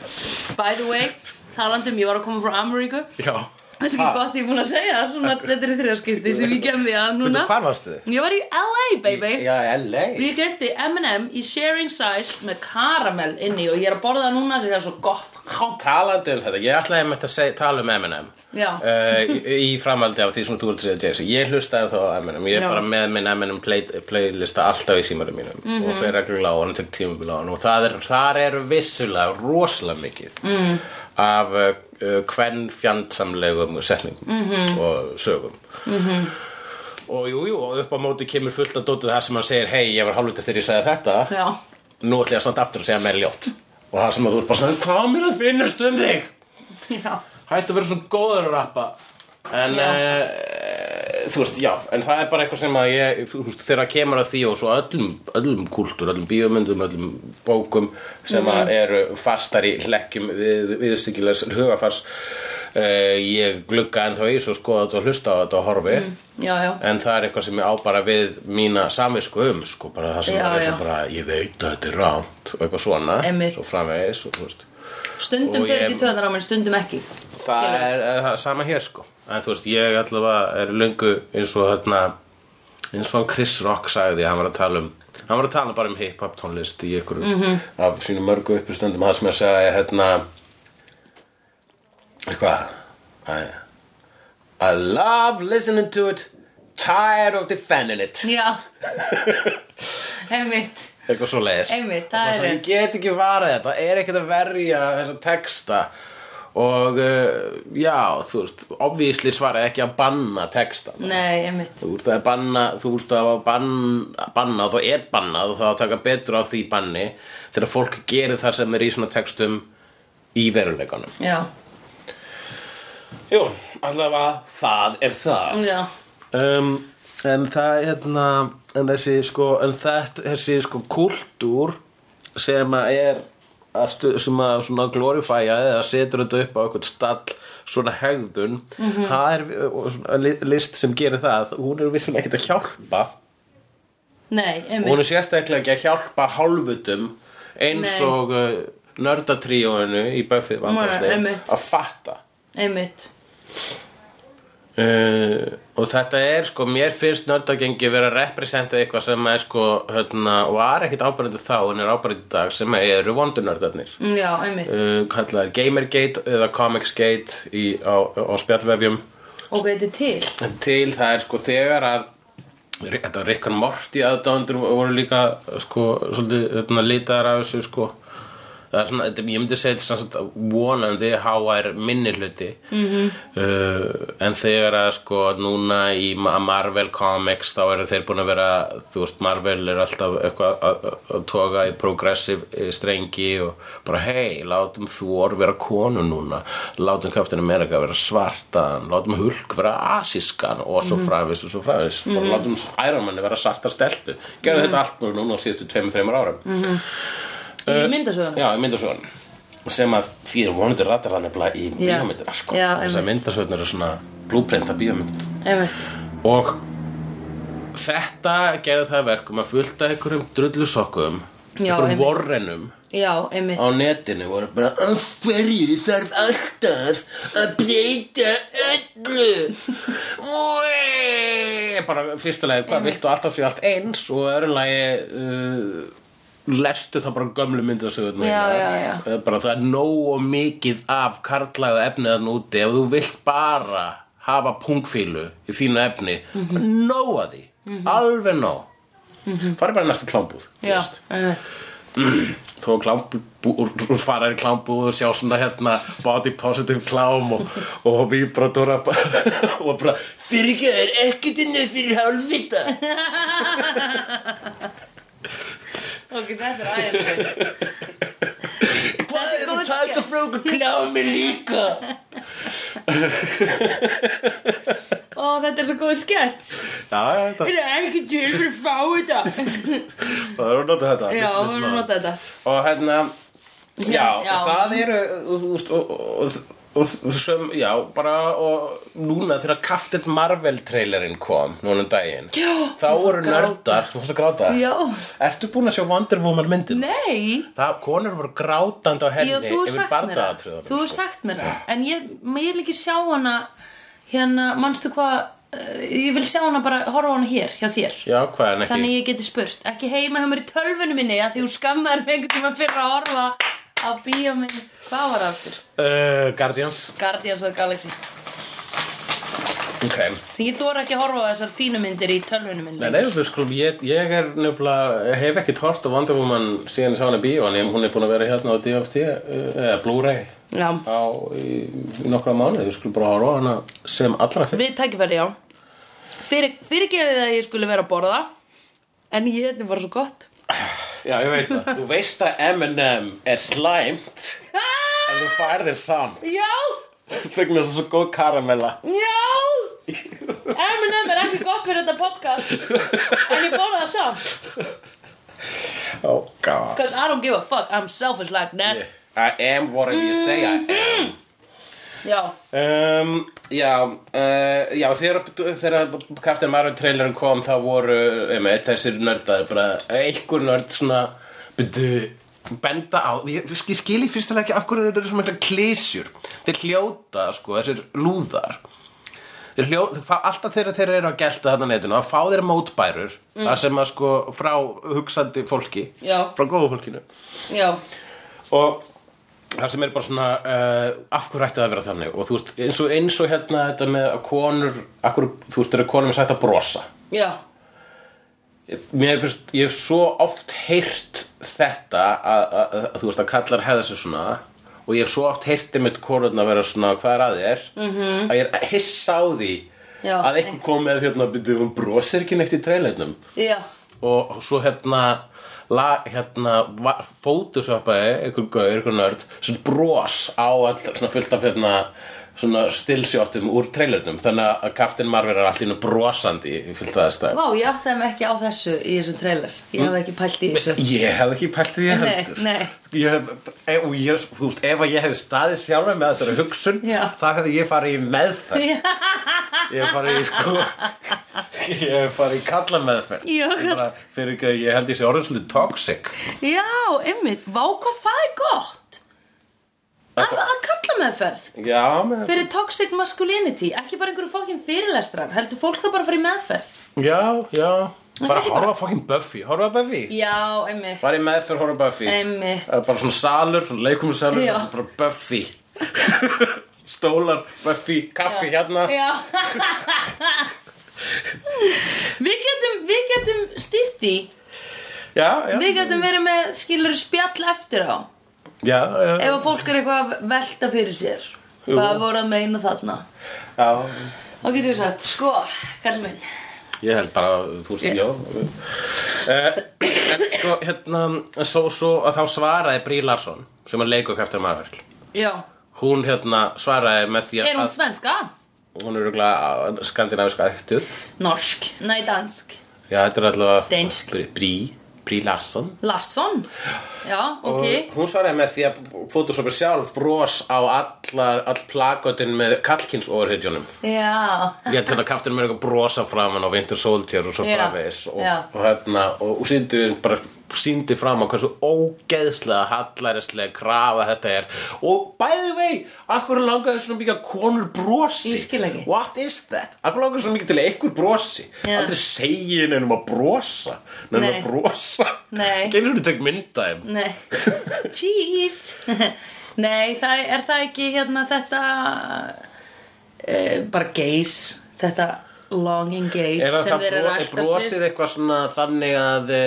S1: By the way, talandum, ég var að koma frá Ameríku
S2: Já
S1: Það er ekki gott ég er búin að segja það, svona, Þetta er þrjaskipti sem ég gemði að núna
S2: Hvar varstu þið?
S1: Ég var í LA, baby
S2: Já, LA
S1: Ég gifti M&M í sharing size með karamell inni og ég er að borða það núna því það er svo gott
S2: Talandi um þetta, ég ætlaði einmitt að seg, tala um Eminem
S1: Já.
S2: Eh, í, í framhaldi af því sem þú ert að segja Jay-Z Ég hlustaði þá á Eminem, ég er
S1: Já.
S2: bara með minn Eminem play, playlista alltaf í símarum mínum
S1: Mhm.
S2: og fer reglulega á hann til tímabil á hann og það er, þar er vissulega rosalega mikið mm. af uh, hvern fjandsamlegum setningum
S1: Mhm.
S2: og sögum og jú, jú, og upp á móti kemur fullt að dótið þar sem hann segir hei, ég var hálfvitað þegar ég sagði þetta
S1: Já,
S2: nú ætlum ég að standa aftur og segja mér ljótt og það sem að þú er bara svona hvað á mér að finnast um þig
S1: já,
S2: hættu að vera svona góður að rappa en
S1: Já.
S2: uh, þú veist, já en það er bara eitthvað sem að ég þú veist, þegar að kemur að því og svo öllum, öllum kultúr, öllum bíómyndum, öllum bókum sem
S1: Mhm.
S2: að eru fastar í hlekkjum við, viðstyggilegs hugafars uh, ég glugga ennþá í svo skoða þetta og hlusta á þetta og horfi
S1: já, já
S2: En það er eitthvað sem ég á bara við mína samisku um, sko, bara það sem
S1: Já,
S2: er
S1: já.
S2: sem bara, ég veit að þetta er rámt og eitthvað svona,
S1: Einmitt.
S2: svo framvegis og, þú veist.
S1: Stundum
S2: Og
S1: fyrir
S2: ég-
S1: ekki töðanar á mér, stundum ekki
S2: Það
S1: Skilurðu?
S2: er, er það er sama hér, sko en þú veist, ég allavega er löngu eins og þarna, eins og Chris Rock sagði, hann var að tala um hann var að tala bara um hip-hop tónlist í ykkur af sínum mörgu uppustöndum það sem ég sagði, hérna eitthvað I, I love listening to it tired of defending it
S1: Já, einmitt,
S2: eitthvað svo leiðis
S1: Einmitt, það er
S2: ég get ekki varað þetta, það er ekkert að verja þessa texta og uh, já, þú veist obvísli svaraði ekki að banna texta
S1: nei, einmitt
S2: þú ert að banna þú ert að banna, banna og þú er bannað og þá að taka betur á því banni þegar fólk gerir það sem er í svona textum í veruleikanum
S1: Já,
S2: Jú, allavega það er það
S1: já,
S2: um, En það hérna, en þessi sko en þetta, þessi sko kultúr sem að er að stu, sem að svona glorifæja eða setur þetta upp á eitthvað stall svona hegðun
S1: Mhm.
S2: það er og svona li- list sem gerir það hún er vissulega ekkert að hjálpa
S1: nei,
S2: og hún
S1: einmitt
S2: er sérstaklega ekki að hjálpa hálfutum eins
S1: Nei.
S2: og uh, nördatríóinu í Buffy
S1: Nei,
S2: vandarslein
S1: einmitt.
S2: að fatta
S1: einmitt
S2: Uh, og þetta er sko, mér finnst nördagengi vera að representa eitthvað sem er sko, hérna, var ekkit ábærandi þá en er ábærandi í dag sem eru vondunördarnir
S1: Mm, Já, einmitt
S2: uh, kallaðar Gamergate eða Comicsgate í, á, á spjallvefjum
S1: Og hvað er til?
S2: til það er sko þegar að þetta var Rick and Morty aðdándur voru líka sko svolítið hérna, litaðar af þessu sko það er svona, þetta, ég myndi segja þetta svona svona vonandi háar minni hluti -hmm. uh, en þegar að sko núna í Ma- Marvel Comics þá eru þeir búin að vera þú veist Marvel er alltaf eitthvað að- að- að toga í progressive eh, strengi og bara hei, látum Thor vera konu núna látum Captain America vera svartan látum Hulk vera asískan og svo fræfis og svo fræfis bara látum Iron Man vera svarta stelpu gerðu þetta allt nú núna á síðustu 2-3 árum mm -hmm.
S1: Í
S2: Eh.
S1: myndasöðunum?
S2: Já, í myndasögun sem að því er vonandi ratar það nefnilega í
S1: Já.
S2: bíómyndir sko.
S1: Já,
S2: þess að
S1: einmitt.
S2: myndasögun eru svona blúprenta bíómynd
S1: Einmitt
S2: og þetta gerði það að verkum að fullta einhverjum drullusokkum
S1: Já,
S2: einhverjum
S1: einmitt.
S2: vorrenum
S1: Já, einmitt
S2: á netinu voru bara af hverju þarf alltaf að breyta öllu Úi! bara fyrsta lagi, hvað viltu alltaf sé allt eins og öðru lagi uh, lestu það bara gömlu myndasögurnar
S1: Já,
S2: þínar.
S1: já, já.
S2: Það er bara það er nógu mikið af karlægu efni þann úti ef þú vilt bara hafa pungfílu í þínu efni mm -hmm.
S1: Mhm.
S2: nóa því, alveg nóg mm -hmm. farið bara í næstu klámbúð þú
S1: Já,
S2: veist
S1: einmitt
S2: þó klámbúr fara í klámbúr og sjá svona hérna body positive klám og, og vibratora og bara fyrirgjöður ekkert inni fyrir hálfvita
S1: Ok, þetta er aðeins
S2: hvað er
S1: góð
S2: að taka
S1: sketch.
S2: frá okkur klámi líka
S1: Ó, þetta er svo góð skett
S2: já, þetta,
S1: Það er ekki til fyrir að fá þetta
S2: það er að nota þetta
S1: Já, við erum að nota þetta
S2: og hérna já,
S1: Já.
S2: það eru þú veist, og, og, og, og sem, já, bara og núna þegar Captain Marvel trailerinn kom núna um daginn
S1: Já,
S2: þá voru
S1: gráta.
S2: nördar, þú fórst að gráta
S1: Já.
S2: ertu búin að sjá Wonder Woman myndin?
S1: Nei
S2: það, konur voru grátandi á henni
S1: Já, þú hefur
S2: yfir sko.
S1: sagt mér það Þú
S2: barndagatriðunum
S1: hefur sagt mér það En ég, ég vil ekki sjá hana Hérna, manstu hvað eh, Ég vil sjá hana bara, horfa á hana hér, hjá þér
S2: já, hvað en ekki
S1: Þannig ég geti spurt Ekki heima hjá mér í tölvunni minni að Því hún skammaður mig einhvern tíma fyrir að horfa Á bíómynd, hvað var það aftur?
S2: uh, Guardians
S1: Guardians of the Galaxy
S2: ok,
S1: Því ég þóra ekki að horfa á þessar fínu myndir í tölvunni minni
S2: Nei, nei, þú skulum, ég, ég er nefnilega, hef ekki tort á Wonder Woman síðan ég sá hana í bíó, en ég- hún er búin að vera hérna á DFT, eh, eða Blu-ray,
S1: Já,
S2: á í, í nokkra mánuði, við skulum bara horfa á hana sem allra fyrst.
S1: við tækifæri já Fyrir, Fyrirgefið að ég skulle vera að borða En ég, þetta er bara svo gott
S2: Já, ég veit það. þú veist að M&M er slæmt,
S1: ah,
S2: en þú færðir samt.
S1: Já,
S2: Fegna þess að svo góð karamella.
S1: Já M&M er ekki gott fyrir þetta podcast En ég borða það samt
S2: Oh god.
S1: Because I don't give a fuck, I'm selfish like that
S2: I am whatever you say I
S1: Mm-hmm.
S2: am.
S1: Já,
S2: Um, já, uh, já þegar, þegar Captain Marvel trailerinn kom þá voru um, þessir nördar bara einhver nörd svona byrju, benda á ég, ég skil í fyrsta lagi af hverju þetta eru svona mikla klísjur þeir hljóta sko, þessir lúðar þeir hljó, þeir fá, alltaf þegar þeir eru að gelta þarna á netinu að fá þeir mótbærur þar sem að sko frá hugsandi fólki
S1: Já.
S2: frá góðu fólkinu
S1: já,
S2: og það sem er bara svona uh, af hverju ætti það að vera þannig og þú veist, eins og, eins og hérna þetta með að konur af hverju, þú veist, þeirra konum er sætt að brosa
S1: já
S2: mér finnst, ég hef svo oft heyrt þetta að, að, að, þú veist, að kallar hefða sig svona og ég hef svo oft heyrt einmitt konurna að vera svona hvað er að þér -hmm. að ég er hissa á því
S1: Já.
S2: að einhver kom með hérna, byrju, hún brosir ekki neitt í treinleitnum
S1: Já,
S2: og svo hérna la, hérna var- fótusoppaði einhver gaur, einhver nörd sem bros á all svona fullt af hérna svona stilsjóttum úr trailernum þannig að Captain Marvel er allt í hennu brosandi í fullt af þess
S1: vá, ég áttaði mig ekki á þessu í þessum trailer Ég hafði ekki pælt í þessu
S2: Ég hef ekki pælt í því
S1: Nei,
S2: heldur
S1: nei.
S2: Ég hef, e, og ég, þú veist, ef að ég hef staðið sjálfur með þessari hugsun
S1: Já.
S2: Það hefði ég farið í meðferð
S1: Já.
S2: Ég hef farið í sko Ég hef farið í kalla meðferð
S1: Já.
S2: Ég bara, fyrir ekki, ég held ég sé orðinslu toxic
S1: Já, einmitt, vá hvað það er gott Af að kalla meðferð
S2: Já, með,
S1: Fyrir toxic masculinity Ekki bara einhverju fókin fyrirlestrar Heldur fólk þá bara að fara í meðferð
S2: já, já
S3: Bara horfa að fokkin Buffy, horfa að Buffy
S1: Já, einmitt
S2: Var ég með fyrir horfa á Buffy
S1: Einmitt.
S2: Það er Bara svona salur, svona leikumisalur
S1: Já.
S2: Bara Buffy Stólar, Buffy, kaffi hérna
S1: Já Við getum, við getum stýrt í
S2: Já, já
S1: Við getum verið með skilur spjall eftir á
S2: Já, já,
S1: Ef að fólk er eitthvað að velta fyrir sér Hvað voru að meina þarna
S2: já
S1: Þá getum við sagt, sko, kall minn
S2: Ég held bara, að þú veist, já Eh, En sko, hérna en Svo, svo að þá svaraði Brí Larsson Sem að leikur Captain Marvel
S1: Já,
S2: Hún hérna svaraði með því að
S1: er hún svenska?
S2: Hún er rúglega skandinaviska ættuð
S1: Norsk, nei dansk
S2: Já, þetta er allavega
S1: Dænsk.
S2: Brí, Brí- Brí Larsson
S1: Larsson Já, ok
S2: Og hún svaraði með því að Photoshop sjálf bros á allar, all plakotin með kallkins overhedjónum.
S1: Já,
S2: Ég til að kaftin með eitthvað brosa framan á Winter Soldier og svo
S1: Já,
S2: framvegis og,
S1: já.
S2: og hérna og, og síndi bara síndi fram á hversu ógeðslega hallarislega krafa þetta er og bæði vei, akkur langaði svona mikið að konur brosi
S1: Ég skil ekki.
S2: what is that? akkur langaði svona mikið til að einhver brosi
S1: Já.
S2: aldrei segi nefnum að brosa nefnum
S1: Nei.
S2: að brosa
S1: Nei.
S2: genið svona tek myndaðum
S1: nei Jeez Nei, það er það ekki hérna þetta e, bara gaze þetta longing gaze
S2: Ef að
S1: sem
S2: það
S1: þeir eru að
S2: bro, er
S1: rættast
S2: brosið
S1: við
S2: eitthvað svona þannig að e,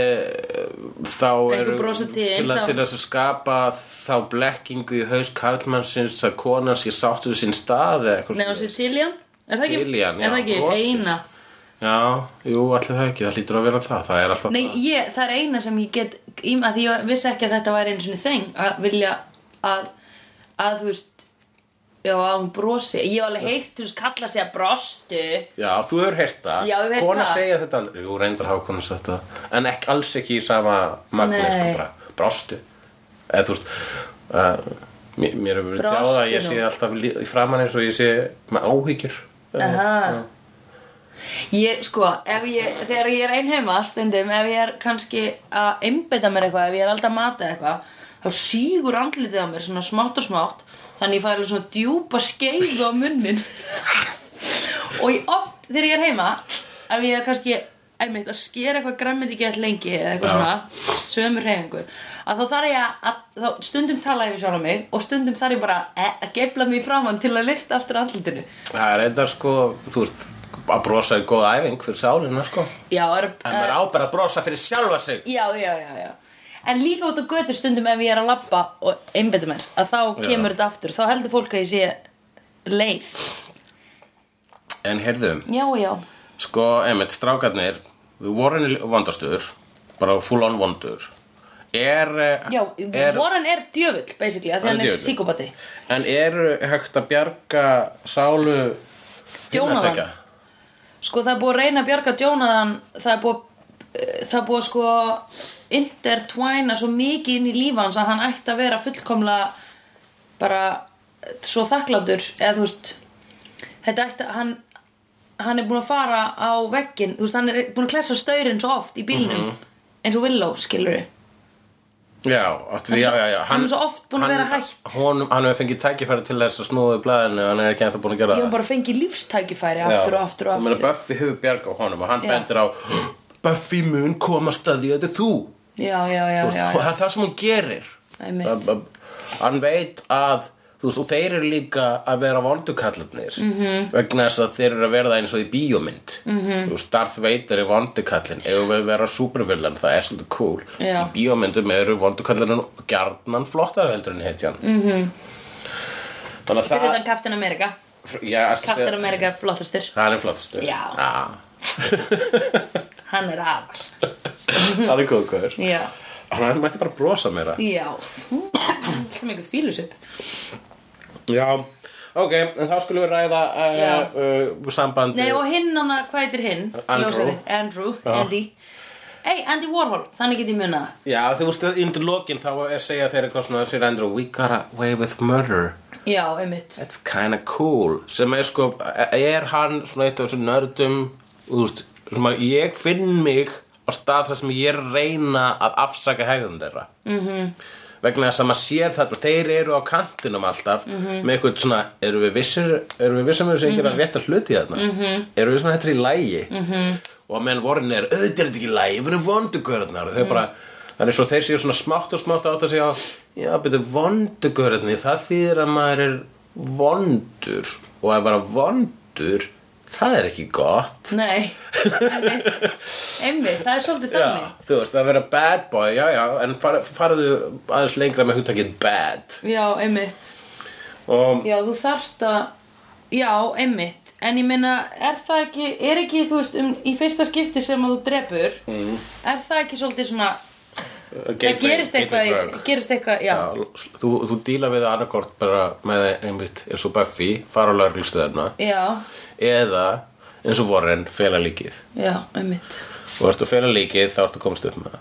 S2: þá eru
S1: brosið til,
S2: til, að,
S1: þá-
S2: til þess að skapa þá blekkingu í haus karlmannsins að konan sé sáttu við sinn stað eða eitthvað
S1: Nei, og sér Tillian Er það ekki,
S2: Tillian, já,
S1: er það ekki
S2: brosið.
S1: eina
S2: Já, jú, allir það ekki, það hlýtur að vera það, það er alltaf
S1: Nei, ég, það er eina sem ég get íma því ég vissi ekki að þetta væri einu svona þeng að vilja að að þú veist já, að hún brosi ég hef alveg heitt, þú veist, kalla sig að brostu
S2: það Já, þú hefur heyrt það
S1: Já, ég hef heyrt
S2: Kona
S1: það.
S2: segja þetta aldrei, jú, reyndar hafa konan sagt það En ekki, alls ekki í sama magni,
S1: Nei.
S2: sko, bara brostu Eða þú veist, uh, mér, mér hefur verið
S1: Brostu
S2: tjáð að ég
S1: nú.
S2: sé alltaf lí- í framan eins og ég sé með áhyggjur
S1: Aha. Ah. Ég, sko, ef ég, þegar ég er einheima stundum, ef ég er kannski að einbeita mér eitthvað, ef ég er alltaf að mata eitthvað, þá sígur andlitið á mér svona smátt og smátt, þannig ég fæ alveg svona djúpa skeiðu á munnin. og ég oft, þegar ég er heima, ef ég er kannski, einmitt, að skera eitthvað græmið ekki alltaf lengi eða eitthvað
S2: Já.
S1: svona, sömu reyfingu, að þá þarf ég að, þá stundum tala ég við sjálf á mig og stundum þarf ég bara eh, að gefla mig framann til að lyfta aftur andlitinu.
S2: Það er eitthvað sko, þú veist, að brosa er góð æfing fyrir sálinna sko
S1: Já, er,
S2: En maður
S1: Eh.
S2: á bara að brosa fyrir sjálfa sig
S1: Já, já, já, já En líka út á götu stundum ef ég er að labba og einbetta mér, að þá kemur þetta aftur þá heldur fólk að ég sé leið
S2: En heyrðum,
S1: Já, já,
S2: sko, einmitt, strákarnir, við vorum vandastur, bara full on vondur Er, eh,
S1: já
S2: er
S1: Warren er djöfull, basically, að því
S2: Hann er
S1: hann er
S2: djöfull.
S1: síkópati
S2: En eru hægt að bjarga sálu
S1: Jónaðan.
S2: hinna tveggja?
S1: Sko, það er búið að reyna að bjarga Jonathan það er búið, eh, það er búið að sko intertwina svo mikið inn í líf hans að hann ætti að vera fullkomlega bara eh, svo þakklátur eða þú veist þetta ætti að hann hann er búin að fara á veggin þú veist, hann er búin að klessa staurinn svo oft í bílnum eins og Willow, skilur við
S2: Já, áttu við, já, já, já
S1: hann er svo oft búinn að
S2: hann-
S1: vera hætt.
S2: Honum, hann hefur fengið tækifæri til þess að snúðu blæðinu Hann er ekki ennþá búin að gera
S1: ég
S2: það
S1: hann bara fengið lífstækifæri aftur og aftur og
S2: Ég meina,
S1: aftur
S2: Buffy hefur bjarga á honum og hann
S1: Já.
S2: bendir á Buffy mun komast að því að þetta er þú
S1: já, já, já,
S2: Þú veist,
S1: já,
S2: og það er það sem hún gerir
S1: Einmitt.
S2: Að- að- hann veit að þú veist, og þeir eru líka að vera vondukallarnir -hmm.
S1: Mhm.
S2: vegna þess að þeir eru að verða eins og í bíómynd -hmm. þú veist, Darth Vader er vondukallin ef við vera supervillan, það er svolítið cool
S1: Já.
S2: í bíómyndum eru vondukallarinn gjarnan flottar heldur en hetjan -hmm. þannig að
S1: fyrir
S2: það
S1: Mhm. þetta Captain America
S2: já, ætla að segja-
S1: Captain America er flottastur
S2: hann er flottastur
S1: Já. hann er aðal
S2: það er góð hver
S1: já,
S2: Mm. hann mætti bara brosa meira
S1: já það er eitthvað fílus upp
S2: Já, ok, en þá skulum við ræða
S1: Já.
S2: uh, uh, sambandi
S1: Nei og hinn hann, hvað heitir hinn?
S2: Andrew.
S1: Ljósari. Andrew, Andy Ei, Andy Warhol, þannig get ég munað það
S2: Já, þú veist, undir lokin þá er segja þeir eitthvað svona sér endur We got away with murder
S1: Já, einmitt
S2: That's kinda cool sem er sko, er hann svona eitt af þessum nördum þú veist, sem að ég finn mig á stað þar sem ég er að reyna að afsaka hegðum þeirra mm -hmm. vegna þess að maður sér þetta þeir eru á kantinum alltaf með eitthvað svona, eru við vissir eru við vissum að við séum ekki að rétta hluti þarna -hmm. eru við svona þetta er í lægi -hmm. og að meðan vorin er, auðvitað er þetta ekki í lægi við erum vondugörðnar þau bara Þannig svo þeir séu svona smátt og smátt átt að segja Já, betur vondugörðni Það þýðir að maður er vondur Og að vera vondur Það er ekki gott
S1: Nei, einmitt, einmitt, það er svolítið þannig.
S2: Já, þú veist, að vera bad boy, já, já, en far, farðu aðeins lengra með hugtakið bad.
S1: Já, einmitt.
S2: Og
S1: Já, þú þarft að, já, einmitt. En ég meina, er það ekki, er ekki, þú veist, um, í fyrsta skipti sem að þú drepur, mm. er það ekki svolítið svona, það gerist eitthvað, í- gerist eitthvað, já,
S2: Já, þú, þú díla við annarkort bara með einmitt eins og Buffy, fara á lauruglustöðarna,
S1: já,
S2: eða eins og Warren, fela líkið.
S1: já, einmitt,
S2: Og ertu að fela líkið, þá ertu að komast upp með það.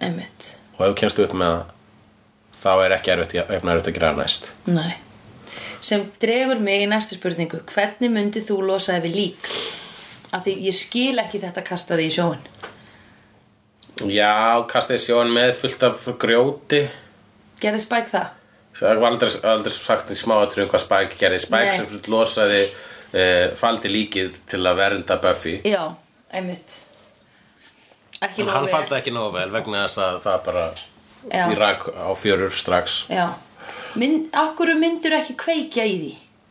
S1: einmitt,
S2: Og ef þú kemst upp með það, þá er ekki erfitt, erfitt erfitt að gera næst.
S1: nei. Sem dregur mig í næstu spurningu, hvernig myndið þú losaði við lík? Af því ég skil ekki þetta kastaði í sjóin.
S2: Já, kastaði sjón með fullt af grjóti.
S1: Gerði Spike það?
S2: Það var aldrei, aldrei sagt í smáatrjum hvað Spike gerði. Spike
S1: Nei.
S2: sem sagt losaði, uh, faldi líkið til að vernda Buffy.
S1: Já, einmitt. Ekki
S2: En
S1: nógu
S2: hann
S1: vel.
S2: faldi ekki nógu vel vegna þess að það bara
S1: Já.
S2: í rak á fjörur strax.
S1: Já, Mynd, akkur myndir ekki kveikja í því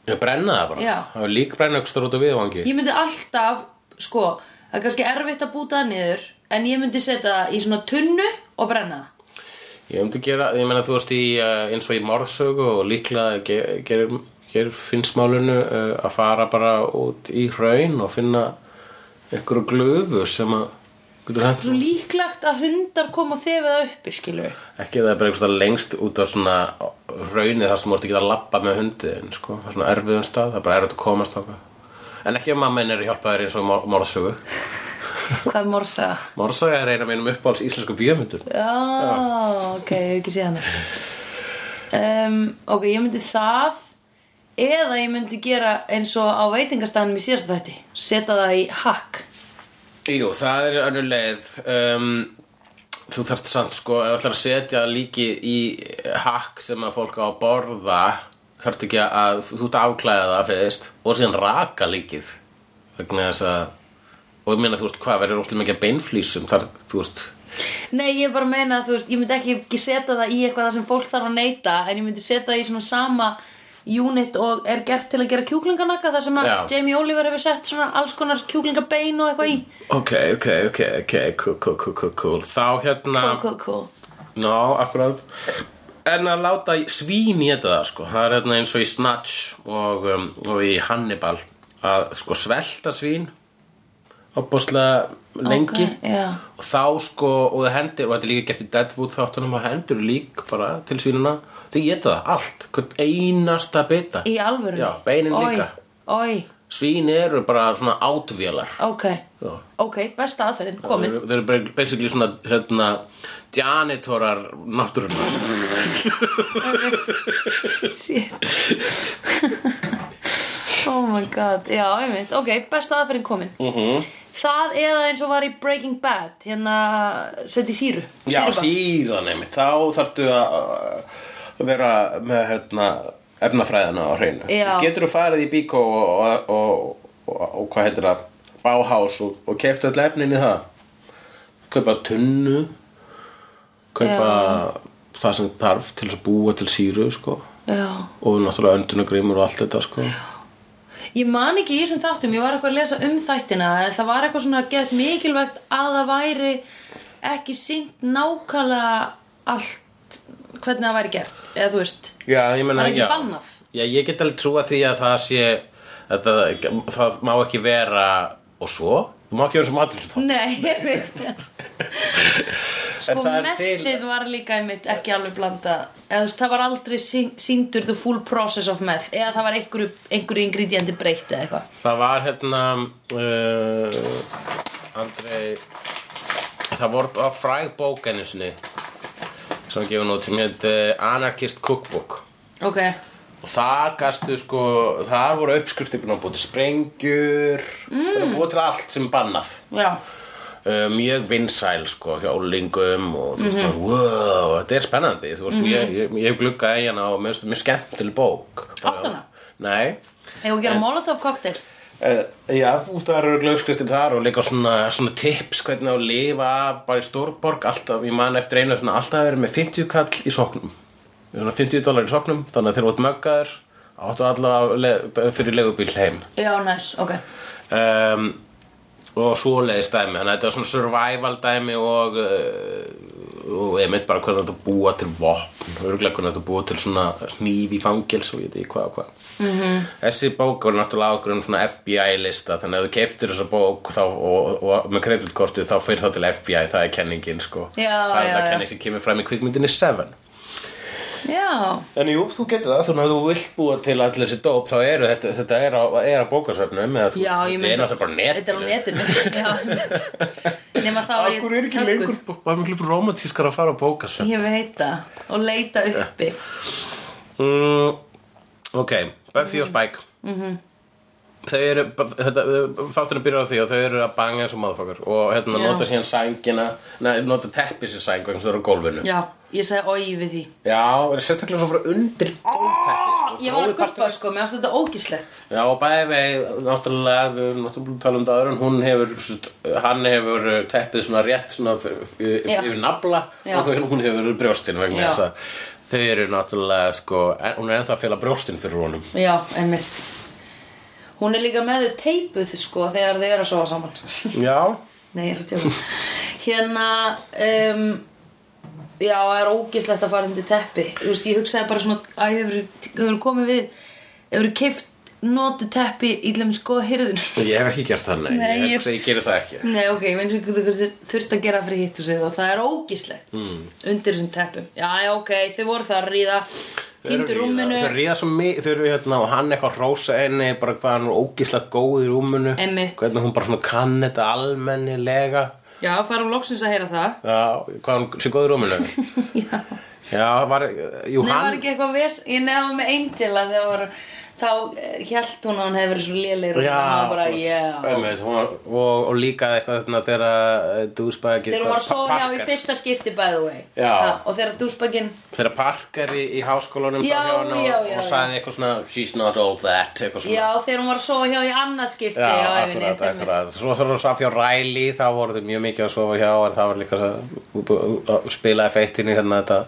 S2: Ég brenna það bara.
S1: Já.
S2: Það var lík brennöxtur út á viðvangi.
S1: Ég myndi alltaf, sko Það er kannski erfitt að búta það niður En ég myndi setja það í svona tunnu og brenna það
S2: Ég myndi gera, ég meina þú veist í uh, eins og í morðsögu og líklega ge- gerir ger, finnst málinu uh, að fara bara út í hraun og finna einhverju glöfu sem að getur hægt
S1: Svo líklegt að hundar koma þefið það uppi, skilur
S2: ekki það er bara einhverstað lengst út á svona raunið þar sem þú ert ekki að labba með hundiðin sko, það er svona erfiðum stað, það er bara erfitt að komast áka en ekki að mamma henni er að hjálpa þér eins og í mor- morðsögu
S1: Hvað er morsa?
S2: morðsögu er eina af mínum uppáhalds íslensku bíómyndum
S1: Já, Ah, ok, ég hef ekki séð hana um, Ok, ég myndi það Eða ég myndi gera eins og á veitingastæðanum í síðasta þætti Setja það í hakk
S2: Jú, það er önnur leið um, Þú þarft samt sko ef þú ætlar að setja líki í hakk sem að fólk á að borða þarft ekki að, þú ert að afklæða það fyrst og síðan raka líkið vegna þess að og ég meina þú veist hvað, verður óslega mikið af beinflýsum þar, þú veist,
S1: Nei, ég bara meina að þú veist, ég myndi ekki, ekki setja það í eitthvað þar sem fólk þarf að neyta en ég myndi setja það í svona sama unit og er gert til að gera kjúklinganakka þar sem að
S2: Já.
S1: Jamie Oliver hefur sett svona alls konar kjúklingabein og eitthvað í
S2: ok, ok, ok, ok cool, cool, cool, cool, cool þá hérna,
S1: Cool, cool, cool
S2: ná, akkurat en að láta svín í þetta sko, það er hérna eins og í Snatch og, um, og í Hannibal að sko svelta svín opbáslega lengi
S1: Ok, já.
S2: og þá sko, og það hendir og þetta er líka gert í Deadwood þáttunum og hendur lík bara til svínuna, þau geta það allt, hvern einasta bita
S1: Í alvöru
S2: já, beinin
S1: Oj,
S2: líka
S1: Oj,
S2: svín eru bara svona átvélar
S1: ok,
S2: já
S1: ok, besta aðferðin, komin
S2: Þeir, þeir eru bara basically svona hérna, janitorar náttúrunar
S1: Shit Oh my god, já, einmitt Ok, besta aðferðin komin mm -hmm. Það eða eins og var í Breaking Bad hérna, setja í síru
S2: Já,
S1: Sýrubar.
S2: síðan einmitt þá þarftu að að vera með hérna, efnafræðina á hreinu
S1: Já.
S2: Getur þú farið í bíkó og, og, og, og, og hvað heitir það Bauhaus og, og keftu öll efnin í það Kaupa tunnu Kaupa það sem þarf til þess að búa til síru sko.
S1: Já,
S2: og náttúrulega öndunagrimur og allt þetta sko.
S1: ég man ekki í þessum þáttum, ég var eitthvað að lesa um þættina en það var eitthvað svona gett mikilvægt að það væri ekki sínt nákvæmlega allt hvernig það væri gert, eða þú veist
S2: Já, ég menna,
S1: Það er ekki
S2: já.
S1: bannað.
S2: Já, ég get alveg trúa því að það sé að það, það má ekki vera og svo, þú má ekki vera sem aðeins þá
S1: Nei, ég veit Sko,
S2: það er
S1: mestið
S2: til-
S1: var líka einmitt ekki alveg blanda eða þú veist, það var aldrei sýn- sýndur the full process of meth eða það var einhverju, einhverju ingredienti breytt eða eitthvað
S2: Það var hérna uh, Andrei það voru að fræg bók enn sinni sem að gefa nút sem heit eh, Anarchist Cookbook
S1: Ok,
S2: og það gastu sko þar voru uppskriftir búin að búið til sprengjur mm. búið til allt sem er bannað
S1: já,
S2: uh, mjög vinsæl sko hjá úlingum og
S1: Mhm.
S2: þú veist bara wow, þetta er spennandi þú veist, ég, ég, ég glugga í hana og mér finnst þetta mjög skemmtileg bók Bara-
S1: Áttu hana?
S2: Nei
S1: Ef hún gera molotov cocktail
S2: Uh, já, út að það eru glöfskriftir þar og líka svona, svona tips hvernig á að lifa af bara í stórborg alltaf, ég man eftir einu svona, alltaf verið með 50 kall í soknum svona 50 dólar í soknum, þannig að þeir voru möggaður áttu allavega le fyrir legubíl heim
S1: Já, næs, ok
S2: um, og svoleiðis dæmi þannig að þetta er svona survival dæmi og uh, og ég mynd bara hvernig þetta búa til vopn örgulega hvernig þetta búa til svona hníf í fangils og ég veit ekki hvað og hvað
S1: Mhm.
S2: -hmm. þessi bók var náttúrulega ákveðum svona FBI lista þannig að ef þú keiftir þessa bók þá, og, og, og með kreditkortið þá fyrir það til FBI það er kenningin sko
S1: Já,
S2: það er
S1: já,
S2: það
S1: já.
S2: kenning sem kemur fram í kvikmyndinni Seven
S1: Já,
S2: En jú, þú getur það, þannig að þú vilt búa til allir þessi dóp, þá eru þetta, þetta er á, er á bókasöfnum, eða þú
S1: já, ég
S2: þetta er
S1: myndi
S2: náttúrulega bara netinu.
S1: Þetta er á netinu Já, einmitt. Nema þá er ég
S2: Akkur er ekki
S1: högguð.
S2: lengur bara miklu romantískar að fara á bókasöfn
S1: Ég veit það Og leita uppi
S2: mm, Ok, Buffy og Spike mm
S1: Mhm.
S2: Þau eru, þetta, þátturinn byrjar á því og þau eru að banga eins og maðurfokkar og hérna
S1: Já.
S2: nota síðan sængina, neða nota teppi sér sæng vegna þau eru á gólfinu
S1: Já, ég sagði oi við því
S2: Já, það er sérstaklega svo frá undir gólfteppi sko.
S1: Ég var að
S2: Grói partur-
S1: guppa sko, mér varst þetta ógislegt
S2: Já, og bæði við, náttúrulega, við erum náttúrulega að tala um það aður en hún hefur, sem sagt, hann hefur eh, teppið svona rétt svona f- f-
S1: Já.
S2: yfir nafla
S1: Já.
S2: og hún hefur brjóstin vegna
S1: Já.
S2: þess að þau eru náttúrulega, sko, en- hún er ennþá að fela brjóstin fyrir honum.
S1: Já, einmitt Hún er líka með þau teipuð sko þegar þau eru að sofa saman
S2: Já.
S1: Nei, ég er að tjóka Hérna um, Já, það er ógislegt að fara undir teppi Þú veist, ég hugsaði bara svona að hefur, hefur komið við hefur keift notu teppi í glemins góða hyrðun
S2: Ég hef ekki gert það, nei,
S1: Nei,
S2: ég,
S1: ég-
S2: ég, ég gerir það ekki.
S1: Nei, ok, ég veit ekki hvað þú þurft að gera fyrir hitt og segja það Það er ógislegt mm. undir þessum teppum Já, já, ok, þau voru það að ríða
S2: Þau eru
S1: Týndu
S2: ríða-
S1: rúminu
S2: Þau ríða svo mikið, þau eru hérna og hann eitthvað rósa henni, bara hvað hann er ógíslega góð í rúminu.
S1: Einmitt.
S2: Hvernig hún bara svona kann þetta almennilega.
S1: Já, farum loksins að heyra það
S2: Já, hvað hann sé góð í rúminu.
S1: Já
S2: Já, var, jú,
S1: Nei,
S2: hann...
S1: var ekki eitthvað vers Ég nefna með Angela þegar var Þá hjælt hún að hann hefur verið svo lélegur og hann var bara, yeah
S2: einmitt, hún var- og, og líka eitthvað þarna þegar eh, dúsbæki
S1: Þegar hún var að sofa hjá í
S2: Parker-
S1: fyrsta skipti by the way
S2: Já.
S1: Og þegar dúsbækin
S2: þegar Parker í, í háskólanum
S1: Já,
S2: sá hjá henni og,
S1: já, já,
S2: og
S1: já.
S2: sagði eitthvað svona she's not all that eitthvað svona
S1: Já, þegar hún var að sofa hjá í annað skipti
S2: Já,
S1: á ævinni,
S2: akkurat,
S1: þetta er mér.
S2: akkurat. Svo þarf hún að sofa hjá Riley, þá voru þau mjög mikið að sofa hjá en það var líka svo- að spila effektinu hérna þetta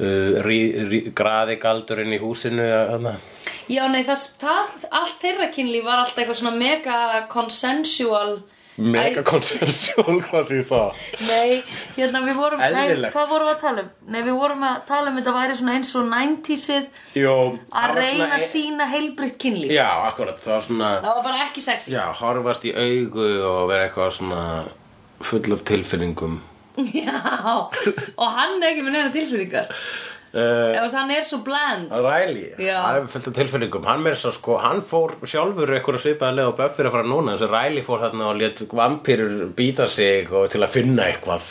S2: uh, rí, rí, graði galdurinn í húsinu hérna.
S1: Já, nei, það, það, allt þeirra kynlíf var alltaf eitthvað svona mega consensual Æ,
S2: Mega konsensjón, hvað því það?
S1: Nei, hérna við vorum nei,
S2: Eðlilegt.
S1: Hvað vorum við að tala um? Nei, við vorum að tala um þetta væri svona eins og 90sið
S2: Jó, það
S1: Að
S2: var
S1: reyna
S2: svona- e-
S1: að sína heilbritt kynlíf
S2: Já, akkurat, það var svona
S1: Það var bara ekki sexy
S2: Já, horfast í augu og vera eitthvað svona full af tilfinningum
S1: Já, og hann er ekki með neina tilfinningar Ef
S2: uh,
S1: þú veist, Hann er svo bland
S2: Riley,
S1: Já.
S2: hann er fullt af tilfinningum hann, meira svo, sko, hann fór sjálfur eitthvað svipaði leið og Buffy er að fara núna þessi Riley fór þarna og let vampýrur býta sig og til að finna eitthvað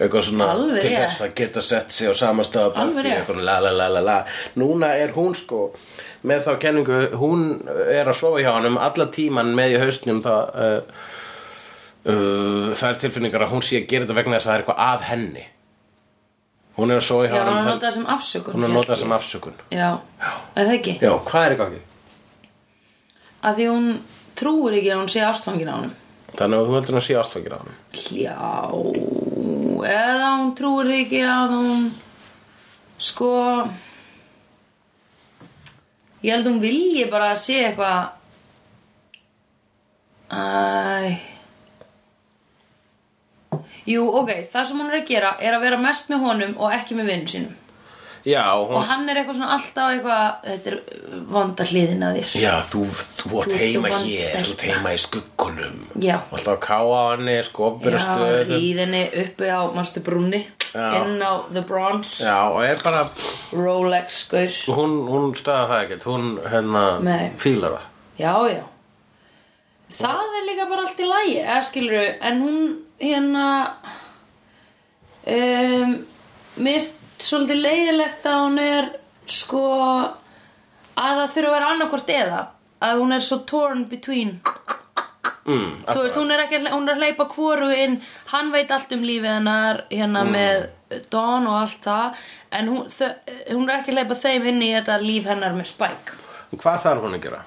S2: eitthvað svona
S1: Alveg
S2: til
S1: rétt.
S2: þess að geta sett sig og samastaða
S1: Alveg
S2: Buffy
S1: rétt.
S2: eitthvað la la la la la núna er hún sko með þá kenningu, hún er að sofa hjá hann um alla tíman með í hausnum það uh, uh, það er tilfinningar að hún sé að gera þetta vegna þess að það er eitthvað að henni hún er að sofa
S1: Já,
S2: hjá
S1: hann
S2: honum,
S1: er notað sem afsökun
S2: hún er að
S1: hélt
S2: nota
S1: ég.
S2: sem afsökun
S1: Já, er það ekki?
S2: já, hvað er í gangi?
S1: Að því hún trúir ekki að hún sé ástfangin á hann
S2: þannig að þú heldur hún að sé ástfangir á hann
S1: Já Eða hún trúir því ekki að hún Sko Ég held hún vilji bara að sé eitthvað Æ Jú, ok, það sem hún er að gera er að vera mest með honum og ekki með vinnu sínum
S2: já, hún,
S1: Og hann er eitthvað svona alltaf eitthvað Þetta er uh, vonda hliðin að þér
S2: já, þú, þú
S1: Þú
S2: átt
S1: ert
S2: heima
S1: svo vond
S2: hér
S1: stelpa.
S2: þú átt heima í skuggunum
S1: Já.
S2: Og alltaf að káa á henni, sko, opbyrstu
S1: Já, ríðinni uppi á Mastu Brúni
S2: Já.
S1: Inn á The Bronze
S2: já, og er bara
S1: Rolex skur
S2: hún, hún staða það ekkert, hún hérna
S1: Nei.
S2: fílar það
S1: Já, já Það er líka bara allt í lagi eða skilur En hún hérna um, Mér finnst svolítið leiðilegt að hún er Sko Að það þurfa að vera annarkvort eða Að hún er svo torn between mm, þú veist, hún er, ekki, hún er að hleypa hvoru inn hann veit allt um lífið hennar hérna með Dawn og allt það en hún, þau, hún er ekki að hleypa þeim inn í þetta líf hennar með Spike
S2: Hvað þarf hún að gera?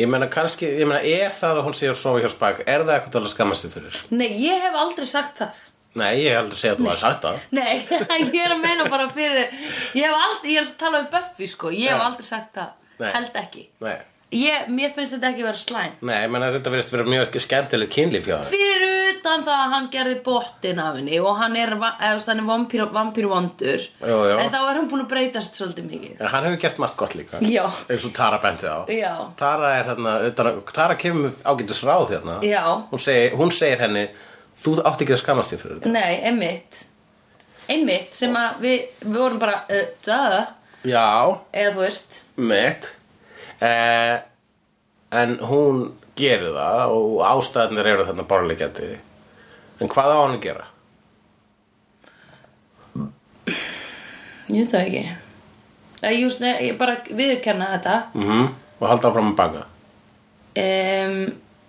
S2: Ég meina kannski, ég meina er það að hún sé að sofa hjá Spike, er það eitthvað til að skamma sig fyrir?
S1: nei, ég hef aldrei sagt það
S2: Nei, ég hef aldrei segið að þú hafði sagt það.
S1: nei, ég er að meina bara fyrir ég hef aldrei, ég er að tala um Buffy sko ég hef
S2: Já.
S1: aldrei sagt það,
S2: Nei.
S1: held ekki
S2: Nei,
S1: ég, mér finnst þetta ekki vera slæm
S2: nei, ég meina þetta verðist vera mjög skemmtilegt kynlíf hjá það.
S1: fyrir utan það að hann gerði bottin af henni og hann er, va- eða þú veist, hann er vampír, vampír vondur
S2: Jú, jú.
S1: en þá er hann búin að breytast svolítið mikið
S2: En hann hefur gert margt gott líka.
S1: Já.
S2: Eins og Tara benti á.
S1: Já.
S2: Tara er hérna, utan, að- Tara kemur með ágætis ráð hérna.
S1: Já.
S2: Hún segir, hún segir henni, þú átt ekki að skammast þér fyrir þetta.
S1: nei, einmitt einmitt sem að við, við vorum bara uh, duh,
S2: Já,
S1: eða þú veist
S2: mitt. Eh, en hún gerir það og ástæðanir eru þarna borleikjandi. En hvað á hann að gera?
S1: ég veit það ekki eða just, nei, ég bara viðurkenna þetta
S2: Mm Og halda áfram að baka.
S1: um,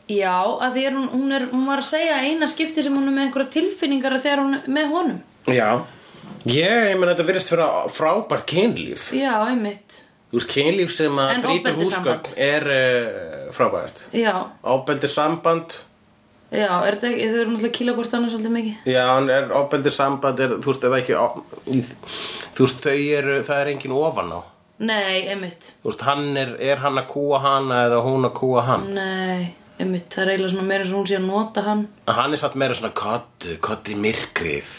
S1: já, að því er hún, hún er hún var að segja eina skipti sem hún er með einhverja tilfinningar að þegar hún er með honum
S2: Já Ég, ég menn þetta virðist vera frábært kynlíf
S1: já, einmitt,
S2: Þú veist, kynlíf sem að
S1: En
S2: brýta
S1: ofbeldissamband.
S2: húsgögn er uh, frábært
S1: já
S2: Ofbeldi samband
S1: já, er þetta ekki, þau eru náttúrulega kíla hvort annars svolítið mikið
S2: Já, en er ofbeldi samband er, Þú veist, eða ekki of, í, Þú veist, þau eru, það er engin ofan á
S1: Nei, einmitt
S2: Þú veist, hann er, er hann að kúa hana eða hún að kúa hann
S1: Nei, einmitt, það er eiginlega svona meira svo hún sé að nota hann
S2: En Hann er satt meira svona kottu, kottu myrkrið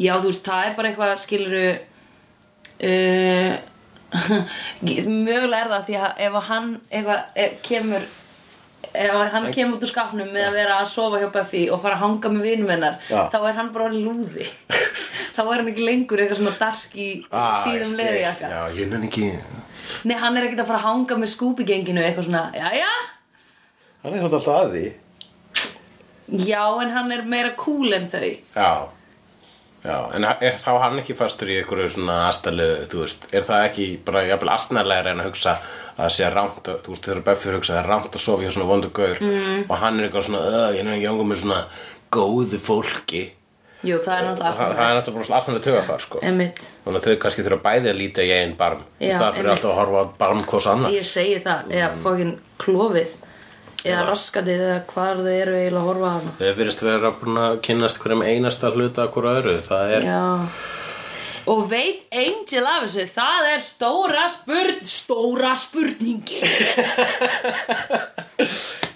S1: Já, þú veist, það er bara eitthvað skiluru uh, Mögulega er það því að ef að hann eitthvað e, kemur ef að hann kemur út úr skapnum með að vera að sofa hjá Buffy og fara að hanga með vinum hennar
S2: Já.
S1: þá er hann bara orðið lúði þá er hann ekki lengur eitthvað svona dark í síðum leði
S2: Ah, Já, ég nenni ekki
S1: Nei, hann er ekkert að fara að hanga með skúpigenginu eitthvað svona, jæja
S2: Hann er satt alltaf að því
S1: Já, en hann er meira cool en þau
S2: Já Já, en er þá hann ekki fastur í einhverju svona astalegu, þú veist, er það ekki bara jafnvel astnarlega en að hugsa að það sé rámt, að- þú veist, þegar Buffy hugsa að það er rámt að sofa hjá svona vondu gaur mm. og hann er eitthvað svona, öð, ég er ekki ángur með svona góðu fólki
S1: Jú, það er náttúrulega
S2: það, það er
S1: aðstæðan
S2: náttúrulega bara svona astnarlega tögafar, sko
S1: Emmitt,
S2: Þannig að þau kannski þurfa bæði að líta í einn barm í
S1: Já,
S2: stað fyrir
S1: einmitt.
S2: alltaf að horfa á barm hvors annar
S1: ég segi það eða fókin klófið eða raskatið eða hvar þau eru eiginlega að horfa á hana
S2: Þau virðist vera búin að kynnast hverjum einasta hluta að hverju öðru, það er
S1: Já Og veit Angel af þessu, það er stóra spurn, stóra spurningi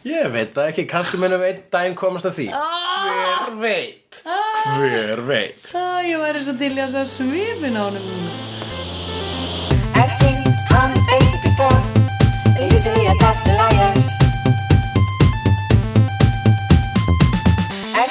S2: Ég veit það ekki, kannski munum við einn daginn komast að því
S1: Ah!
S2: Hver veit? Hver veit?
S1: Það ég væri svo til í að svo svipin á honum núna
S4: I've seen honest faces before. They're usually a past liars. I've